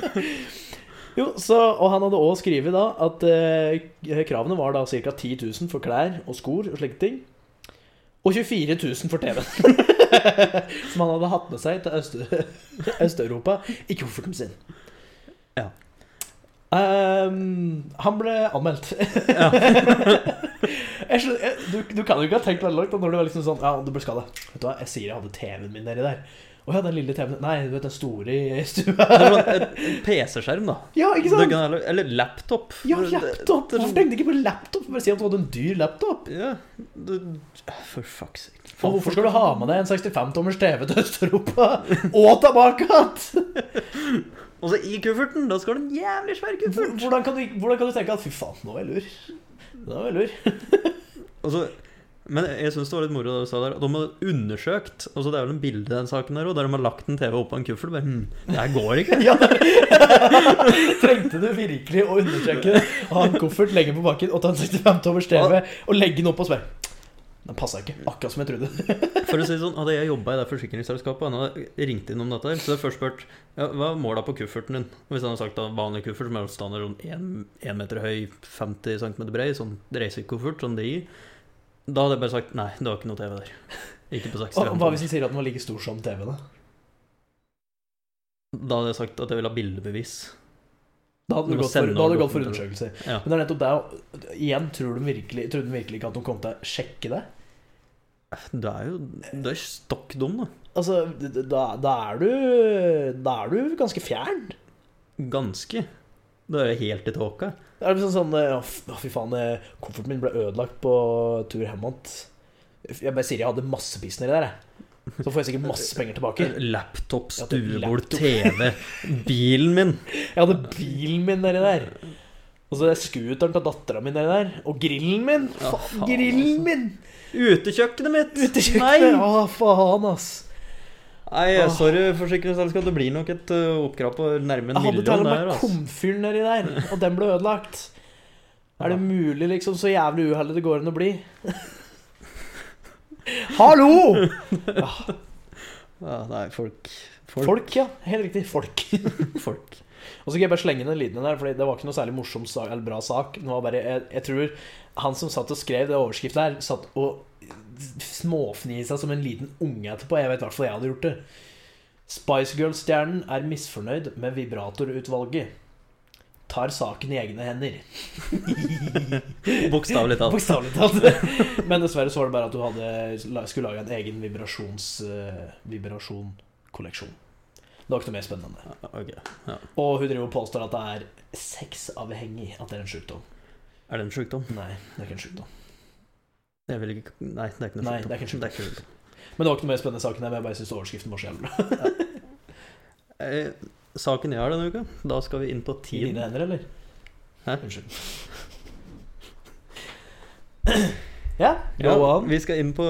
S2: jo, så, og han hadde også skrevet da at eh, kravene var da ca. 10 000 for klær og skor og slike ting. Og 24 000 for TV-en. Som han hadde hatt med seg til Øst- Øst-Europa i kofferten sin.
S1: Ja.
S2: Ehm, han ble anmeldt. Jeg skjønner, jeg, du, du kan jo ikke ha tenkt veldig langt da, når du var liksom sånn Ja, du ble skada. Vet du hva, jeg sier jeg hadde TV-en min nedi der. Å ja, den lille TV-en Nei, du vet den store i
S1: Det sånn, var
S2: stua.
S1: en, en PC-skjerm, da.
S2: ja, ikke
S1: Du
S2: sant?
S1: kan heller- eller laptop.
S2: Ja,
S1: Det-
S2: laptop! Hvorfor tenkte jeg ikke på laptop? Bare si at du hadde en dyr laptop.
S1: Ja, du, for fuck's sake.
S2: Og hvorfor skal du ha med deg en 65-tommers TV til Øst-Europa og tilbake igjen?
S1: Og så i kufferten! Da skal du ha en jævlig svær
S2: Hvor-
S1: kuffert!
S2: Hvordan, kan du- hvordan kan du tenke at fy faen, nå er jeg lur? Nå er jeg lur.
S1: Og så, men jeg syns det var litt moro det du sa der. at De har undersøkt og så Det er vel en bilde i den saken der også, der de har lagt en TV oppå en kuffert. Bare, hm, det her går ikke.
S2: Ja. Trengte du virkelig å undersøke det? Ha en koffert, legge den på bakken og ta en 65-tommers TV og legge den opp og spørre Den passa ikke, akkurat som jeg trodde.
S1: For å si det sånn, Hadde jeg jobba i det forsikringsselskapet og han hadde ringt inn om dette, her, så hadde jeg først spurt ja, hva er måla på kufferten din. Og Hvis han hadde sagt da, vanlig kuffert som er standard sånn 1 meter høy, 50 cm brei, sånn racingkuffert som de gir, da hadde jeg bare sagt nei, det var ikke noe TV der. Ikke på
S2: Og hva hvis
S1: Sakstrand.
S2: den sier at den var like stor som TV-en? da?
S1: Da hadde jeg sagt at jeg ville ha bildebevis.
S2: Da hadde
S1: Du
S2: du
S1: må
S2: gått for,
S1: sende
S2: da hadde du
S1: over
S2: gått for
S1: dokumentet.
S2: undersøkelser.
S1: Ja.
S2: Men det er nettopp det og Igjen, tror de virkelig, tror de virkelig ikke at de kom til å sjekke det?
S1: Du er jo Du er stokk dum, da.
S2: Altså, d- da, da er du Da er du ganske fjern.
S1: Ganske. Du er jo helt i tåka.
S2: Det er liksom sånn eh, Å, f- å, fy faen, eh, kofferten min ble ødelagt på tur hjem igjen. Jeg bare sier jeg hadde masse piss nedi der, jeg. Så får jeg sikkert masse penger tilbake.
S1: Laptop,
S2: Ja, det er
S1: stuebord,
S2: laptop.
S1: TV, bilen min.
S2: Jeg hadde bilen min nedi der. Og så er scooteren til dattera mi nedi der. Og grillen min!
S1: Ja,
S2: Faen,
S1: faen,
S2: grillen
S1: altså.
S2: min!
S1: Utekjøkkenet mitt!
S2: Ute i
S1: Nei.
S2: kjøkkenet. Å, faen, ass.
S1: Nei,
S2: Åh.
S1: sorry, forsikringsselskap. Det blir nok et uh, oppkrav på nærmere en
S2: Jeg hadde til og
S1: million der.
S2: med
S1: Altså.
S2: komfyren nedi der, og den ble ødelagt. Er det mulig, liksom, så jævlig uheldig det går an å bli? Hallo!
S1: Ja, nei, folk Folk.
S2: Folk, ja. Helt riktig. Folk.
S1: folk.
S2: Og så kan jeg bare slenge inn en liten en der, for det var ikke noe særlig morsom sak, eller bra sak. Det var bare, jeg, jeg tror han som satt og skrev det overskriftet her, satt og småfni seg som en liten unge etterpå. Jeg vet i hvert fall jeg hadde gjort det. Spice Girls-stjernen er misfornøyd med vibratorutvalget. Tar saken i egne hender.
S1: Bokstavelig talt.
S2: Bokstavelig talt. Men dessverre så var det bare at du hadde, la- skulle lage en egen vibrasjons, eh, vibrasjonkolleksjon. Det var ikke noe mer spennende.
S1: Ja, ok.
S2: Og hun driver og påstår at det er sexavhengig at det er en sjukdom.
S1: Er det en sjukdom?
S2: Nei, det er ikke en sjukdom.
S1: Jeg vil ikke Nei, det er ikke noe
S2: Nei,
S1: sjukdom.
S2: det er ikke en sjukdom.
S1: ikke en sjukdom.
S2: Men det var ikke noe mer spennende saken her, men jeg bare syns overskriften var så jævlig bra.
S1: Eh, Saken jeg har denne uka, da skal vi inn på
S2: I
S1: tid.
S2: dine hender, eller?
S1: Hæ?
S2: Unnskyld. ja, go on.
S1: vi skal inn på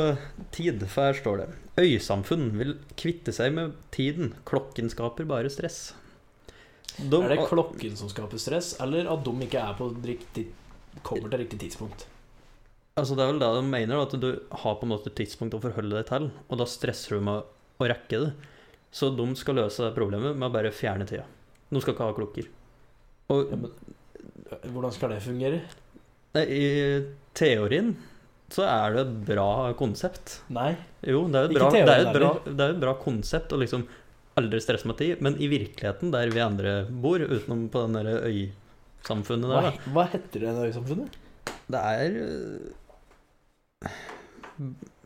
S1: tid, for her står det Øysamfunn vil kvitte seg med tiden. Klokken skaper bare stress. De-
S2: Er det klokken som skaper stress, eller at de ikke er på riktig Kommer til riktig tidspunkt?
S1: Altså Det er vel det de mener, da, at du har på en måte et tidspunkt å forholde deg til, og da stresser du med å rekke det. Så de skal løse det problemet med å bare fjerne tida. De skal ikke ha klokker. Og
S2: Ja, men, hvordan skal det fungere?
S1: nei, i teorien så er det et bra konsept.
S2: Nei.
S1: Jo, det er jo et
S2: Ikke
S1: bra,
S2: teorien
S1: det er jo et bra, det er jo et bra konsept å liksom aldri stresse med tid, men i virkeligheten, der vi andre bor, utenom på den derre øysamfunnet
S2: Hva,
S1: der, da,
S2: hva heter det øysamfunnet?
S1: Det er øh,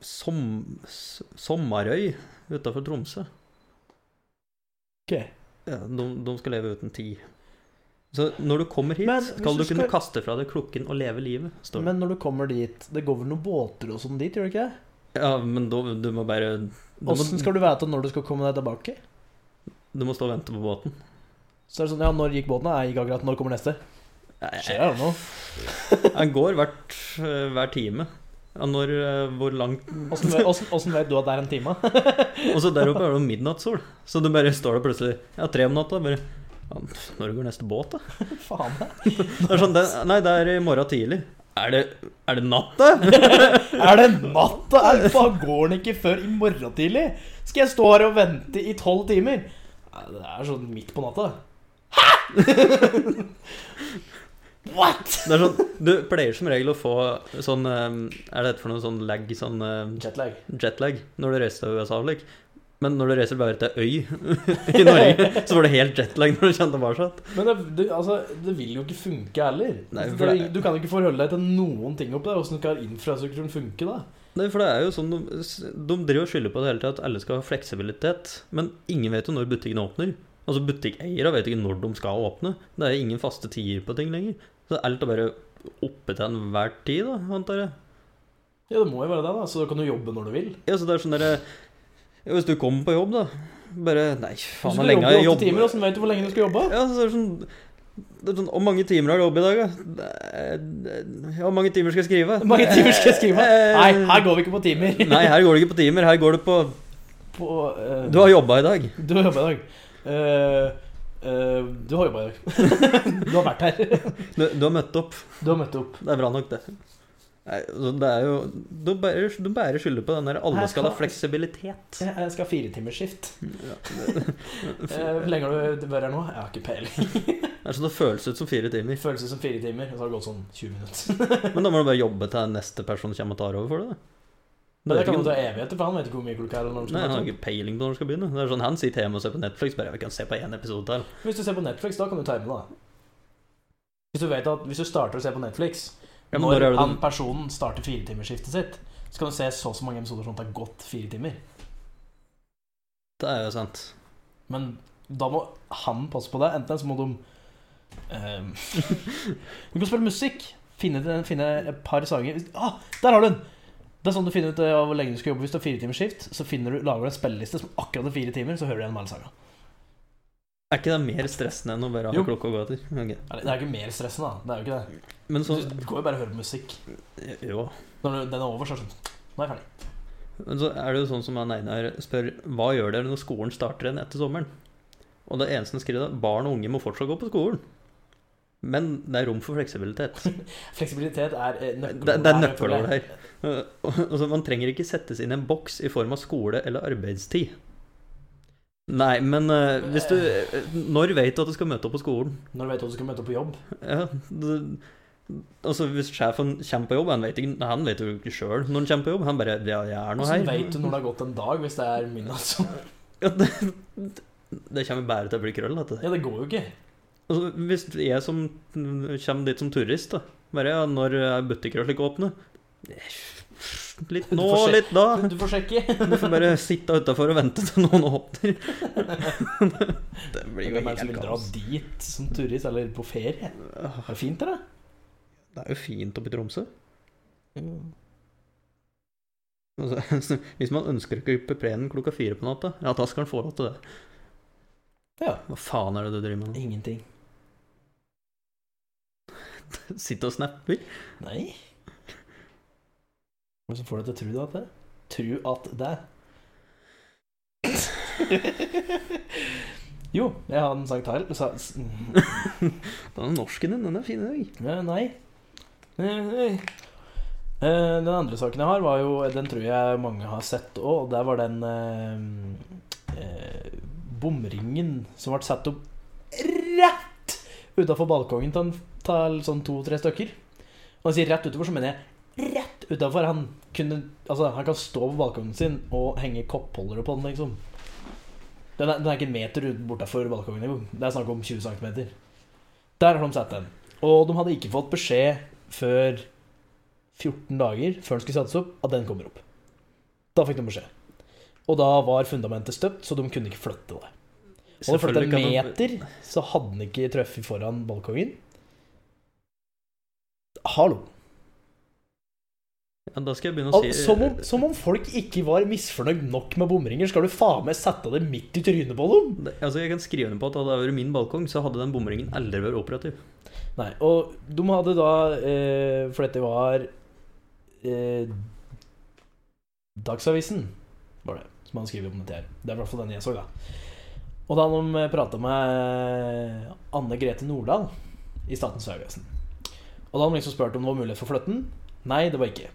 S1: som, s- Sommarøy utafor Tromsø.
S2: Ok.
S1: Ja, de, de skal leve uten tid. Så når du kommer hit,
S2: Men hvis
S1: skal
S2: du
S1: du kunne
S2: skal-
S1: kaste fra deg klokken og leve livet. Står det.
S2: Men når du kommer dit Det går vel noen båter og sånn dit, gjør det ikke det?
S1: ja, men da, du må bare du må,
S2: Åssen skal du vite når du skal komme deg tilbake?
S1: du må stå og vente på båten.
S2: Så er det sånn, ja, når gikk båten? Jeg gikk akkurat, når kommer neste? Skjer det nå?
S1: Han går hvert, øh, hver time. Ja, når, øh, hvor langt
S2: Åssen vet- åssen- åssen vet du at det er en time?
S1: Og så der oppe er det midnattssol, så du bare står der plutselig Ja, tre om natta. Bare ja, Når går neste båt, da?
S2: Faen.
S1: Det er sånn, det, nei, det er i morgen tidlig. Er det, er det natt, da?
S2: Er det natt? da? Er- Faen, går den ikke før i morgen tidlig? Skal jeg stå her og vente i tolv timer? Nei, Det er sånn midt på natta. Hæ?! What?!
S1: Det er sånn, du pleier som regel å få sånn eh, Er det et for noe sånn lag, sånn eh,
S2: Jetlag.
S1: jetlag, når du reiser til USA? Like. Men når du reiser bare til øy i Norge, så var det helt jetlag når du kommer tilbake.
S2: Men det, det, altså, det vil jo ikke funke heller. Altså,
S1: Nei,
S2: Du-
S1: for det-
S2: Du kan jo ikke forholde deg til noen ting oppi der. Åssen skal infrastrukturen funke da?
S1: Nei, for det er jo sånn De, de driver og skylder på det hele tida at alle skal ha fleksibilitet, men ingen vet jo når butikkene åpner. Altså Butikkeiere vet ikke når de skal åpne. Det er ingen faste tider på ting lenger. Så alt er bare oppe til enhver tid, da, antar jeg.
S2: Ja, det må jo være det, da. Så da kan du jobbe når du vil.
S1: Ja, så det er sånn derre Hvis du kommer på jobb, da Bare Nei, faen,
S2: Hvis
S1: hvor
S2: du
S1: lenge har
S2: jobber i
S1: jeg jobbet?
S2: åtte timer, hvordan vet du hvor lenge du skal jobbe?
S1: Ja, så er det sånn det er sånn, Hvor mange timer har du jobb i dag, da? Ja, hvor mange timer skal jeg skrive?
S2: Hvor mange timer skal jeg skrive?
S1: Eh,
S2: Nei, her går vi ikke på timer.
S1: Nei, her går det ikke på timer. Her går det på
S2: På, eh,
S1: Du har jobba i dag.
S2: Du har jobba i dag. Eh, eh, du har jobba i dag. du har vært her.
S1: Du, du har møtt opp.
S2: Du har møtt opp.
S1: Det er bra nok, det. Nei, altså, det er jo De bærer, de bærer skylda på den der alle
S2: Her
S1: skal ha
S2: skal-
S1: fleksibilitet.
S2: Jeg jeg skal ha firetimersskift.
S1: Ja.
S2: Eh, Hvor lenge har du vært her nå? Jeg har ikke peiling.
S1: Det er sånn det føles ut som fire
S2: Det
S1: timer.
S2: føles ut som fire timer, og så har det gått sånn 20 minutter.
S1: Men da må du bare jobbe til neste person kommer og tar over for deg.
S2: Men det kan jo
S1: ikke-
S2: ta evigheter, for han vet ikke hvor mye klokka er. eller når han
S1: Nei,
S2: skal
S1: Han har
S2: møte opp.
S1: ikke peiling på når han skal begynne. Det er sånn, Han sitter hjemme og ser på Netflix. bare, jeg kan se på en episode til.
S2: Hvis du ser på Netflix, da kan du time det. da. Hvis du vet at hvis du starter å se på Netflix
S1: Ja, men
S2: Når
S1: når er det
S2: han
S1: den-
S2: personen starter firetimersskiftet sitt, så kan du se så og så mange episoder sånn at det har gått fire timer.
S1: Det er jo sant.
S2: Men da må han passe på det. Enten så må de ehm, Du kan spille musikk. Finne, finne et par sanger ah, Der har du den! Det er sånn du finner ut av hvor lenge du skal jobbe. Hvis du har fire timers skift, så finner du, lager du en spilleliste som akkurat er fire timer, så hører du gjennom alle sangene.
S1: Er ikke det mer stressende enn å bare ha
S2: Jo.
S1: klokka å gå etter? Ok.
S2: Eller, Det er jo ikke mer stressende, da. Det er jo ikke det.
S1: Men
S2: Du-
S1: sånn
S2: Du går jo bare og hører på musikk.
S1: Jo.
S2: Når du- den er over, så er det sånn Nå er jeg ferdig.
S1: Men så er det jo sånn som han Einar spør Hva gjør dere når skolen starter igjen etter sommeren? Og det eneste han skriver da Barn og unge må fortsatt gå på skolen Men det er rom for fleksibilitet Det,
S2: Fleksibilitet er eh, nøkkelordet.
S1: det er nøkkelord
S2: føler jeg.
S1: her Altså, Man trenger ikke settes inn i en boks I form av skole eller arbeidstid Nei, men eh, hvis du eh, Når vet du at du skal møte opp på skolen?
S2: Når du vet at du skal møte opp på jobb.
S1: Ja, det, altså hvis sjefen kommer på jobb Han vet, ikke, han vet jo ikke selv når han kommer på jobb Han bare, ja, jeg er nå her
S2: Hvordan vet du når det har gått en dag, hvis det er midnatt? så-
S1: Ja, det, det kommer bare til å bli krøll. Dette.
S2: Ja, det går jo ikke.
S1: Altså, hvis jeg som kommer dit som turist, da bare, ja, Når er butikker og slik åpne? Litt
S2: Du
S1: nå,
S2: får se-
S1: litt da.
S2: Du får sjekke.
S1: Du får bare sitte utafor og vente til noen åpner. Det blir jo
S2: Hvem er det som
S1: helt
S2: vil dra
S1: kaos.
S2: dit som turist, eller på ferie? Er det fint, eller?
S1: Det er jo fint oppe i Tromsø. Altså, hvis man ønsker å krype plenen klokka fire på natta, ja, da skal man få lov til det.
S2: Ja.
S1: Hva faen er det du driver med nå?
S2: Ingenting.
S1: Sitte og snapper?
S2: Nei. Hva er det som får deg til å tro det? at det? Tro at det Jo, jeg har en sang til. Sa, s-
S1: Den norsken din, den er fin i dag.
S2: Ja, nei. Nei, nei. Eh, Den andre saken jeg har, var jo Den tror jeg mange har sett òg. Der var den eh, eh, bomringen som ble satt opp rett utafor balkongen til en- til sånn to-tre stykker. Og jeg sier rett utover, så mener jeg rett utafor. Han, kunne- altså, han kan stå på balkongen sin og henge koppholdere på den, liksom. Den er, den er ikke en meter ut- bortafor balkongen engang. Det er snakk om 20 cm. Der har de satt den. Og de hadde ikke fått beskjed før 14 dager før den skulle settes opp, at den kommer opp. Da fikk de beskjed. Og da var fundamentet støpt, så de kunne ikke flytte det. Og det flyttet
S1: Selvfølgelig
S2: en
S1: kan
S2: meter, så hadde den ikke treffet foran balkongen. Hallo.
S1: Ja, da skal jeg begynne å si
S2: Al som, om, som om folk ikke var misfornøyd nok med bomringer, skal du faen meg sette det midt i trynet på dem?
S1: Det- Altså, Jeg kan skrive under på at hadde det vært min balkong, så hadde den bomringen aldri vært operativ.
S2: Nei, og de hadde da eh, For dette var eh, Dagsavisen, var det, som han skriver om dette her. Det er i hvert fall den jeg så, da. Og da de prata med Anne Grete Nordahl i Statens vegvesen Og da hadde de liksom spurt om det var mulighet for å flytte den. Nei, det var ikke.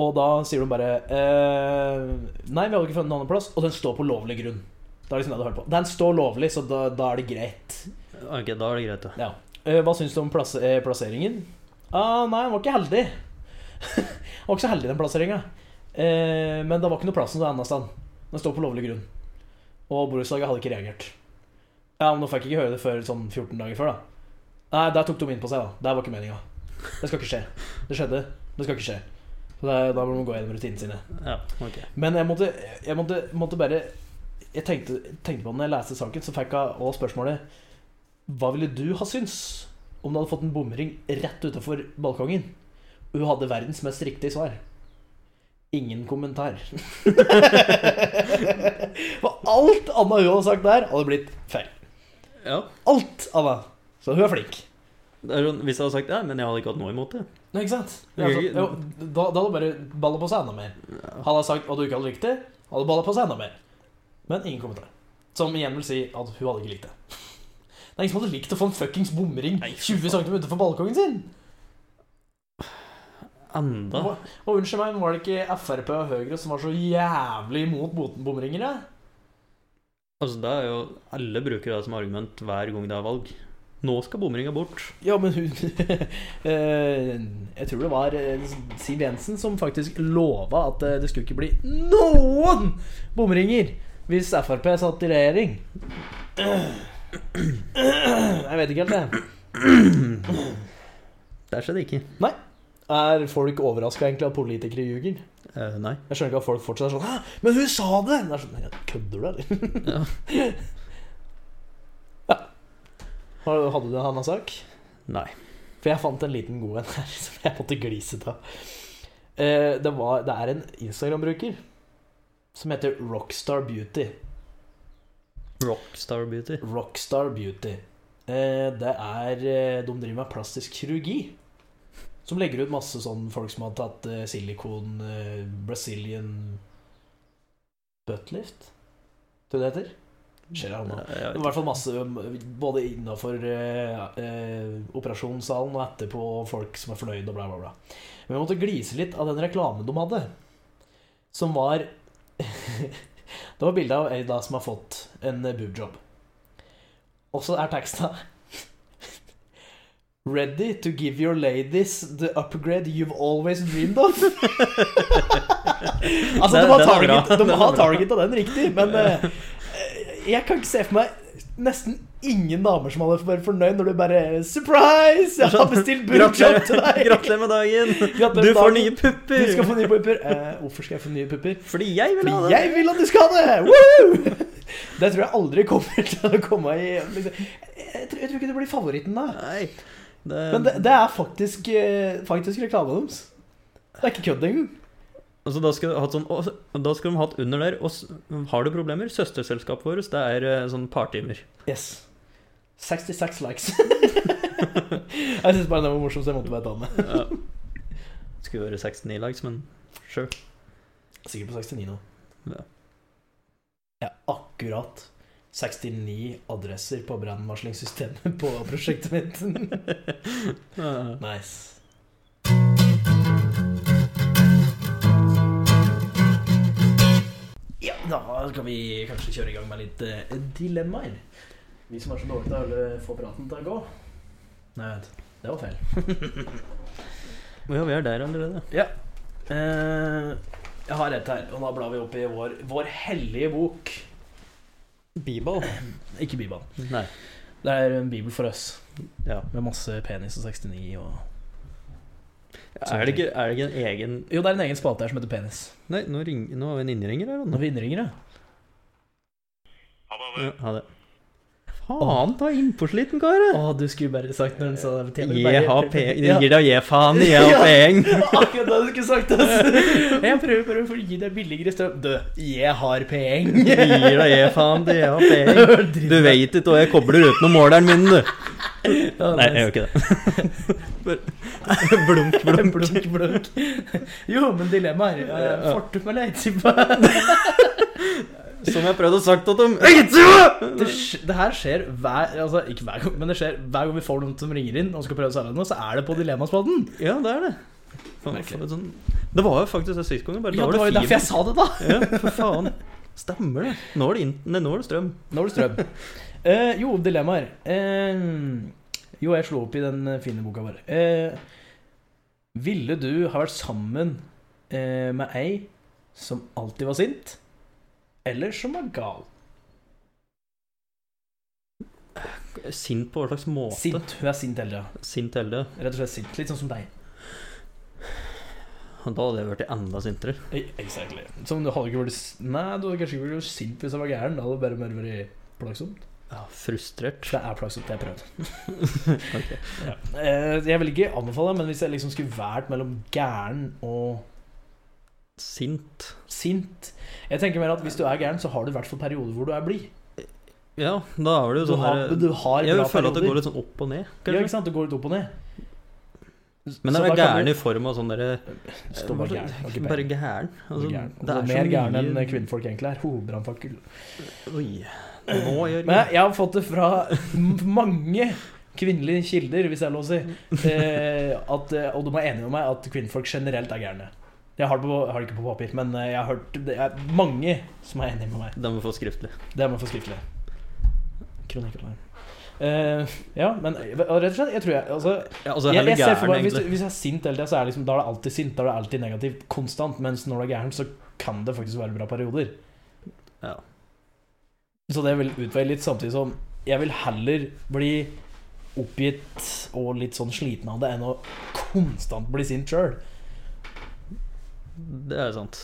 S2: Og da sier de bare eh, Nei, vi hadde ikke funnet en annen plass. Og den står på lovlig grunn. Det er liksom det du hører på. Den står lovlig, så da, da er det greit.
S1: Ok, da er det greit, da.
S2: Eh, Hva syns du om plass eh, plasseringen? Ah, nei, han var ikke heldig. han var ikke så heldig, den plasseringa. Eh, men det var ikke noe plass noe annet sted. Den står på lovlig grunn. Og borettslaget hadde ikke reagert. Ja, men Nå fikk jeg ikke høre det før sånn 14 dager før, da. Nei, der tok de inn på seg, da. Det var ikke meninga. Det skal ikke skje. Det skjedde. Det skal ikke skje. Så Så det er, da må man gå gjennom rutinene sine.
S1: Ja, ok.
S2: Men jeg måtte, jeg måtte, måtte bare Jeg tenkte, tenkte på det når jeg leste saken, så fikk jeg også spørsmålet Hva ville du ha syns om du hadde fått en bomring rett utenfor balkongen? Og hun hadde verdens mest riktige svar. Ingen kommentar. For alt annet hun hadde sagt der, hadde blitt feil.
S1: Ja.
S2: Alt annet. Så hun er flink.
S1: Det er sånn, hvis jeg hadde sagt ja, men jeg hadde ikke hatt noe imot det.
S2: Nei, ikke sant? Ja, altså, jo, da, da hadde bare balla på seg enda mer. Hadde jeg sagt at du ikke hadde likt det, hadde balla på seg enda mer. Men ingen kommentar. Som igjen vil si at hun hadde ikke likt det. Det er ingen som hadde likt å få en fuckings bomring
S1: Nei, for
S2: 20 cm utenfor balkongen sin!
S1: Enda.
S2: Og, og unnskyld meg, men var det ikke Frp og Høyre som var så jævlig imot bot- bomringer? da?
S1: Altså, det er jo Alle bruker det som argument hver gang det er valg. Nå skal bomringa bort.
S2: Ja, men hun eh, Jeg tror det var eh, Siv Jensen som faktisk lova at eh, det skulle ikke bli noen bomringer hvis Frp satt i regjering. Jeg vet ikke helt, det.
S1: Der skjedde ikke.
S2: Er folk overraska egentlig at politikere ljuger?
S1: Eh, nei.
S2: Jeg skjønner ikke at folk fortsatt er sånn Hæ, men hun sa det! det er sånn, «Ja, Kødder du, eller?
S1: Ja.
S2: Ja. Har- Hadde du en annen sak?
S1: Nei.
S2: For jeg fant en liten god en her som jeg måtte glise av. Eh, Det, var, det er en Instagram-bruker som heter Rockstar Beauty.
S1: Rockstar Beauty.
S2: Rockstar Beauty. Eh, Det er eh, De driver med plastisk kirurgi. Som legger ut masse sånn folk som har tatt eh, silikon eh, Brazilian buttlift? Tror du det heter? Skjer det nå?
S1: Ja, Eh, jeg
S2: Det
S1: vet
S2: var i hvert fall masse um, både innafor operasjonssalen og etterpå folk som er fornøyd og bla, bla, bla. Men jeg måtte glise litt av den reklamen de hadde, som var Det var bilde av ei da som har fått en eh, boobjob. Og så er teksta Ready to give your ladies the upgrade you've always dreamed of. altså,
S1: Den-
S2: de har
S1: den er bra.
S2: target, de
S1: Den er
S2: har
S1: bra.
S2: target av den riktig, men eh, jeg kan ikke se for meg nesten ingen damer som hadde vært fornøyd når du bare Surprise! Jeg har bestilt boobjob til deg!
S1: Gratulerer gratulerer med dagen!
S2: Gratulerer med
S1: Du får
S2: dagen.
S1: nye pupper!
S2: Du skal få nye pupper. Eh, hvorfor skal jeg få nye pupper?
S1: Fordi jeg vil ha
S2: Fordi
S1: det!
S2: jeg vil at du skal ha det! Woohoo! Det tror jeg aldri kommer til å komme i liksom. jeg, tror, jeg tror ikke det blir favoritten da.
S1: Nei. Det,
S2: Men det, det er faktisk, eh, faktisk reklame deres. Det er ikke kødd engang.
S1: altså, da, skal du hatt sånn, og, da skal de hatt under der og, s- Har du problemer? Søsterselskapet vårt det er eh, sånn partimer.
S2: Yes. 66 likes. jeg syns bare den var morsom, så jeg måtte bare ta den med.
S1: Ja. Skulle være 69 likes, men sure.
S2: Sikkert på 69 nå.
S1: Ja.
S2: Jeg er akkurat 69 adresser på brannvarslingssystemet på prosjektet mitt.
S1: Ja.
S2: nice. Ja, da skal vi kanskje kjøre i gang med litt eh, dilemmaer. Vi som er så dårlige til å få praten til å gå. Nei, vent. Det var feil.
S1: ja, vi er der allerede.
S2: Eh, jeg har et her, og da blar vi opp i vår, vår hellige bok.
S1: Bibel?
S2: Ikke Bibelen.
S1: Nei.
S2: Det er en bibel for oss,
S1: Ja.
S2: med masse penis og 69 og
S1: Er det, ikke, er det ikke en egen
S2: Jo, det er en egen spalte her som heter Penis.
S1: Nei, nå, ring, nå har vi en innringer her.
S2: Når
S1: Anne.
S2: vi innringer, ja.
S1: Ja, ha det. Faen ta innpåsliten, kar!
S2: Å, du skulle bare sagt når den sa det. tjener bare-
S1: Jeg har peng...
S2: Ja.
S1: Gir deg faen i jeg
S2: Ja.
S1: har peng!
S2: Det var Akkurat det du skulle sagt, ass. Jeg prøver bare å gi deg billigere strøm. Du, jeg har penger.
S1: Gir deg faen i jeg har peng! Du veit ikke hva jeg kobler utenom måleren min, du. Nei, jeg gjør ikke det.
S2: blunk, blunk. blunk, blunk. Jo, men dilemmaet er eh,
S1: Ja.
S2: Fortum eller Eidsipa?
S1: Som jeg prøvde å sagt til dem Eidsiva!
S2: Det, sk- det her skjer hver altså, ikke hver gang, men det skjer hver gang vi får noen som ringer inn og skal prøve å selge noe, så er det på Dilemmaspalten.
S1: Ja, det er det. Faen,
S2: Merkelig.
S1: for et sånn- Det var jo faktisk det sist gang. Bare
S2: Ja,
S1: da
S2: det var jo derfor jeg sa det, da.
S1: Ja, for faen. Stemmer det. Nå er det, inn- nei, nå er det strøm.
S2: Nå er det strøm. Eh, jo, dilemmaer. Eh, jo, jeg slo opp i den fine boka vår. Eh, ville du ha vært sammen eh, med ei som alltid var sint, eller som var gal?
S1: Sint på hva slags måte?
S2: Sint. Hun er sint hele tida.
S1: Sint Elde.
S2: Rett og slett sint. Litt sånn som deg.
S1: Og da hadde jeg blitt enda sintere.
S2: Exactly. Som du hadde ikke vært s- Nei, du hadde kanskje ikke vært sint hvis jeg var gæren. Da hadde det bare mer vært plagsomt.
S1: Ja, frustrert.
S2: Det er plagsomt, jeg prøvde.
S1: Ok.
S2: Ja. Eh, Jeg vil ikke anbefale, men hvis jeg liksom skulle vært mellom gæren og
S1: Sint.
S2: sint Jeg tenker mer at hvis du er gæren, så har du i hvert fall perioder hvor du er blid.
S1: Ja, da er det jo
S2: Du
S1: sånn
S2: har,
S1: der
S2: du har
S1: Jeg
S2: bra
S1: føler at det går
S2: perioder.
S1: litt sånn opp og ned,
S2: Ja, ikke
S1: kanskje.
S2: sant? Det går litt opp og ned.
S1: Men det
S2: Så da
S1: er
S2: kan
S1: gæren
S2: du-
S1: i form av sånn derre
S2: Stå bare gæren. har ikke
S1: Bare
S2: peiling.
S1: gæren. Altså,
S2: Bare gæren. Og
S1: det er så
S2: mer gæren
S1: mye-
S2: enn kvinnfolk egentlig er. Hovedbrannfakkel.
S1: Oi. Nå,
S2: Men
S1: Jørgen.
S2: jeg har fått det fra m- mange kvinnelige kilder, hvis jeg har lov å si, eh, at, eh, og de er enige med meg, at kvinnfolk generelt er gærne. Jeg har det, på, har det ikke på papir, men eh, jeg har hørt det er mange som er enige med meg.
S1: Den må få skriftlig.
S2: Det må jeg få skriftlig. Kronikker der. Eh, ja, men eh, og rett og slett, jeg tror jeg altså,
S1: Ja, altså,
S2: jeg,
S1: her
S2: jeg
S1: blir
S2: ser for
S1: gæren,
S2: meg, hvis,
S1: egentlig.
S2: hvis jeg er sint hele tida, så er det liksom, da er det alltid sint. Da er det alltid negativt konstant. Mens når du er gæren, så kan det faktisk være bra perioder.
S1: Ja.
S2: Så det vil utveie litt, samtidig som jeg vil heller bli oppgitt og litt sånn sliten av det, enn å konstant bli sint sjøl.
S1: Det er sant.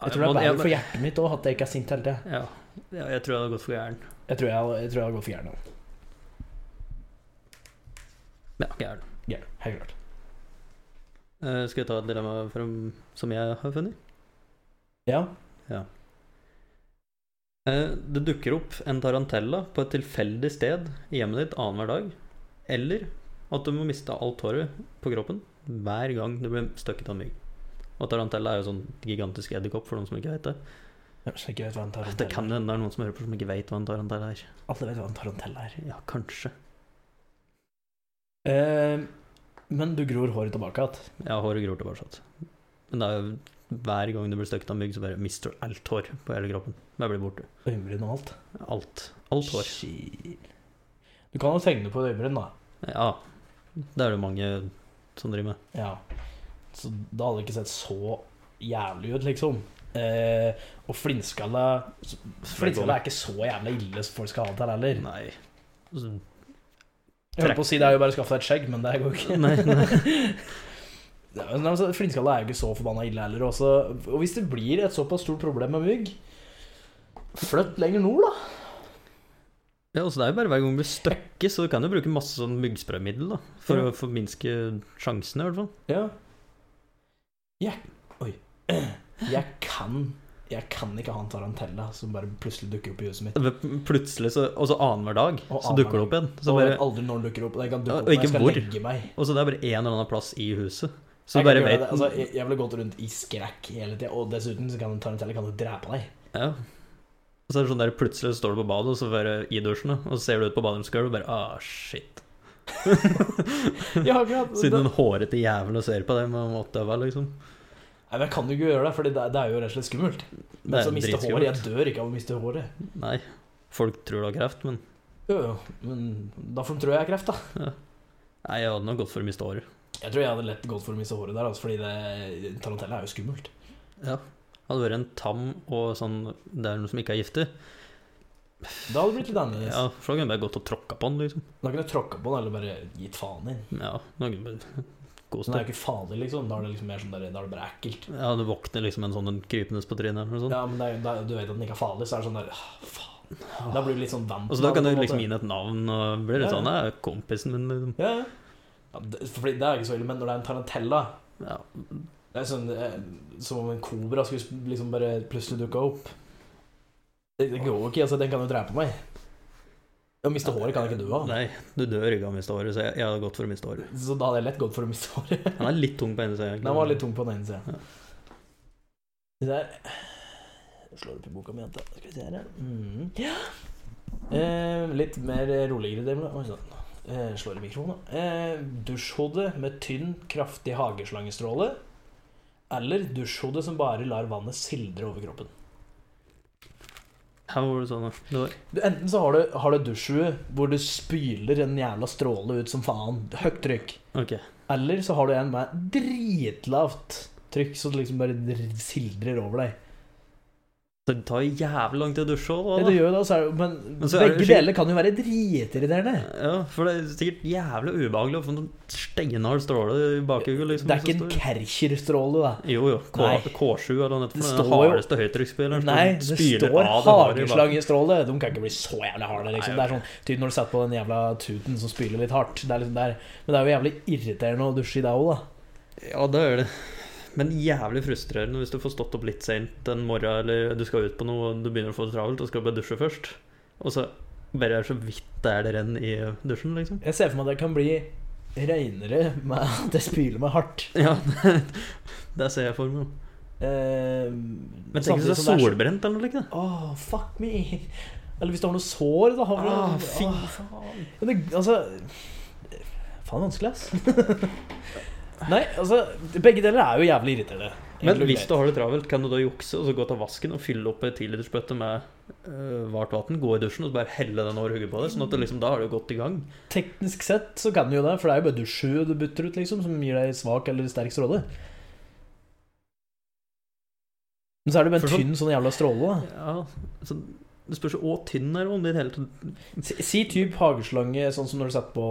S2: Jeg tror det er
S1: Ja, jeg-
S2: bedre for hjertet mitt òg at jeg ikke er sint hele tida.
S1: Ja. ja, jeg tror jeg hadde gått for gæren.
S2: Jeg tror jeg, jeg, tror jeg går for gæren. nå.
S1: Ja, gæren.
S2: Gæren, Helt klart.
S1: Eh, skal jeg ta et dilemma fra- som jeg har funnet?
S2: Ja.
S1: Eh, det dukker opp en tarantella på et tilfeldig sted i hjemmet ditt annenhver dag. Eller at du må miste alt håret på kroppen hver gang du blir støkket av mygg. Og tarantella er jo sånn gigantisk edderkopp, for noen som ikke vet det.
S2: Jeg ikke vet hva en
S1: Det
S2: tarantella
S1: kan
S2: er.
S1: hende det er noen som hører på som ikke vet hva en tarantella er.
S2: Alle vet hva en tarantella er.
S1: Ja, kanskje.
S2: Eh, men du gror håret tilbake igjen.
S1: Ja, håret gror tilbake. sant. Men det er jo hver gang du blir støkket av mygg, så bare mister du alt hår på hele kroppen. Det blir borte.
S2: Øyenbryn og alt.
S1: Alt. Alt hår.
S2: Shit. Du kan jo tegne på et øyebryn, da.
S1: Ja. Det er det mange som driver med.
S2: Ja. Så da hadde det ikke sett så jævlig ut, liksom. Eh, og flintskalla Flintskalla er ikke så jævlig ille som folk skal ha det til heller.
S1: Nei. Altså, Så-
S2: Jeg holdt på å si det er jo bare å skaffe deg et skjegg, men det går jo ikke.
S1: Nei,
S2: Ja, men altså, Flintskalla er jo ikke så forbanna ille heller. Også. Og hvis det blir et såpass stort problem med mygg, flytt lenger nord, da.
S1: Ja, altså, det er jo bare hver gang du blir støkket, så du kan jo bruke masse sånn myggsprøymiddel, da. For
S2: Ja.
S1: å forminske sjansene, i hvert fall.
S2: Ja. Jeg Oi. Jeg kan Jeg kan ikke ha en tarantella som bare plutselig dukker opp i huset mitt.
S1: Men Plutselig, så Og så annenhver dag,
S2: Og
S1: så dukker det opp igjen. Så
S2: Og
S1: bare,
S2: jeg vet aldri når den dukker opp. og Jeg kan dukke
S1: Ja,
S2: opp
S1: og
S2: når jeg
S1: ikke
S2: skal
S1: hvor.
S2: legge meg.
S1: og så det er bare en eller annen plass i huset. Så
S2: Jeg
S1: du bare
S2: kan gjøre
S1: vet
S2: det. altså, jeg, jeg ville gått rundt i skrekk hele tida, og dessuten så kan en tarantella kan jo drepe deg.
S1: Ja. Og så er det sånn der plutselig står du på badet, og så bare i dusjen, da, og så ser du ut på baderomsgulvet og bare ah, shit.
S2: Ja, akkurat.
S1: Siden den hårete jævelen ser på deg med åttehøva, liksom.
S2: Nei, men jeg kan jo ikke gjøre det, for det, det er jo rett og slett skummelt.
S1: Det
S2: Men
S1: er
S2: så miste håret
S1: dritskummelt.
S2: Jeg dør ikke av å miste håret.
S1: Nei. Folk tror du har kreft, men
S2: Jo, jo, men da får de tro jeg har kreft, da.
S1: nei, jeg hadde nok gått for å miste håret.
S2: Jeg tror jeg hadde lett gått for å miste håret der, altså, fordi det, tarantella er jo skummelt.
S1: Ja. Hadde vært en tam og sånn Det er noen som ikke er giftig.
S2: Da hadde det blitt litt annerledes.
S1: Ja, for da kunne du bare gått og tråkka på den, liksom.
S2: Da kunne jeg tråkka på den, eller bare gitt faen inn.
S1: Ja, da kunne du bare
S2: Så
S1: kost
S2: det er
S1: deg.
S2: jo ikke farlig, liksom. Da er det liksom mer sånn der, da er det bare ekkelt.
S1: Ja, du våkner liksom en sånn en krypende på trynet eller noe sånt.
S2: Ja, men det er, jo- da, du vet at den ikke er farlig, så er det sånn der «Åh, Faen. Da blir du litt sånn vant
S1: Og så
S2: med
S1: da kan du
S2: det, på en måte.
S1: liksom gi den et navn, og blir litt
S2: Ja, ja.
S1: sånn Det er kompisen min, liksom.
S2: Ja, ja. ja det, fordi det er ikke så ille, men når det er en tarantella
S1: Ja.
S2: Det er sånn, eh, Som om en kobra skulle sp- liksom bare plutselig dukke opp. Det, det går jo ikke, altså, den kan jo drepe meg. Å miste håret kan jeg ikke dø av.
S1: Nei, du dør ikke av å miste håret, så jeg, jeg hadde gått for å miste håret.
S2: Så da hadde jeg lett gått for å miste håret.
S1: Han er litt tung på ene sida. egentlig.
S2: Den var litt tung på den ene sida.
S1: Ja.
S2: Der Jeg slår opp i boka mi, jenta. Skal vi se her, ja. Mm. ja. Eh, litt mer roligere demo. Oi sann. Eh, slår i mikrofonen, da. Eh, dusjhode med tynn, kraftig hageslangestråle. Eller dusjhode som bare lar vannet sildre over kroppen.
S1: Her var det sånn, da. Det var,
S2: Du, enten så har du, har du dusjhue hvor du spyler en jævla stråle ut som faen. Høyt trykk.
S1: ok.
S2: Eller så har du en med dritlavt trykk, så det liksom bare dr- sildrer over deg.
S1: Så det tar jævlig lang tid å dusje
S2: Ja,
S1: òg,
S2: det
S1: da.
S2: gjør jo det, så er det, men,
S1: Men så er det
S2: begge
S1: skik-
S2: deler kan jo være dritirriterende.
S1: Ja, for det er sikkert jævlig ubehagelig å få en sånn steinhard stråle i bakhugget. Liksom,
S2: det er ikke
S1: hvis
S2: en
S1: står-
S2: Kercher-stråle, da.
S1: Jo, jo. K
S2: Nei.
S1: K7 eller noe.
S2: Det
S1: Den
S2: står jo-
S1: hardeste høytrykksspilleren. som
S2: Nei, det
S1: spyler
S2: står
S1: av det harde i baken.
S2: hageslangestråle. De kan ikke bli så jævlig harde. Liksom.
S1: Nei,
S2: Det er sånn, typ når du setter på den jævla tuten som spyler litt hardt. Det er liksom der. Men det er jo jævlig irriterende å dusje i deg òg, da.
S1: Ja, det er det. Men jævlig frustrerende hvis du får stått opp litt seint en morgen, eller du skal ut på noe, og du begynner å få det travelt og skal bare dusje først. Og så bare er så vidt det er det renn i dusjen, liksom.
S2: Jeg ser for meg at det kan bli reinere med at jeg spyler meg hardt.
S1: Ja, det ser jeg for meg.
S2: Eh,
S1: Men tenk hvis du
S2: samtidig
S1: er
S2: som det er så-
S1: solbrent eller noe likt. da.
S2: Åh, fuck me. Eller hvis du har noe sår, da. Har du,
S1: Ah, fy
S2: Åh.
S1: faen.
S2: Men det, altså Faen vanskelig, ass. Nei, altså Begge deler er jo jævlig irriterende.
S1: Men hvis du har det travelt, kan du da jukse og så gå til vasken og fylle opp ei tilitersbøtte med øh, vart vann, gå i dusjen og så bare helle den over hodet på deg, sånn at det liksom, da har du gått i gang.
S2: Teknisk sett så kan du jo det, for det er jo bare dusjø du butter ut, liksom, som gir deg svak eller sterk stråle. Men så er det bare
S1: For
S2: en
S1: sånn-
S2: tynn sånn jævla stråle, da.
S1: Ja, så det spørs jo hvor tynn er om det i det hele tatt.
S2: Si, si typ hageslange, sånn som når du setter på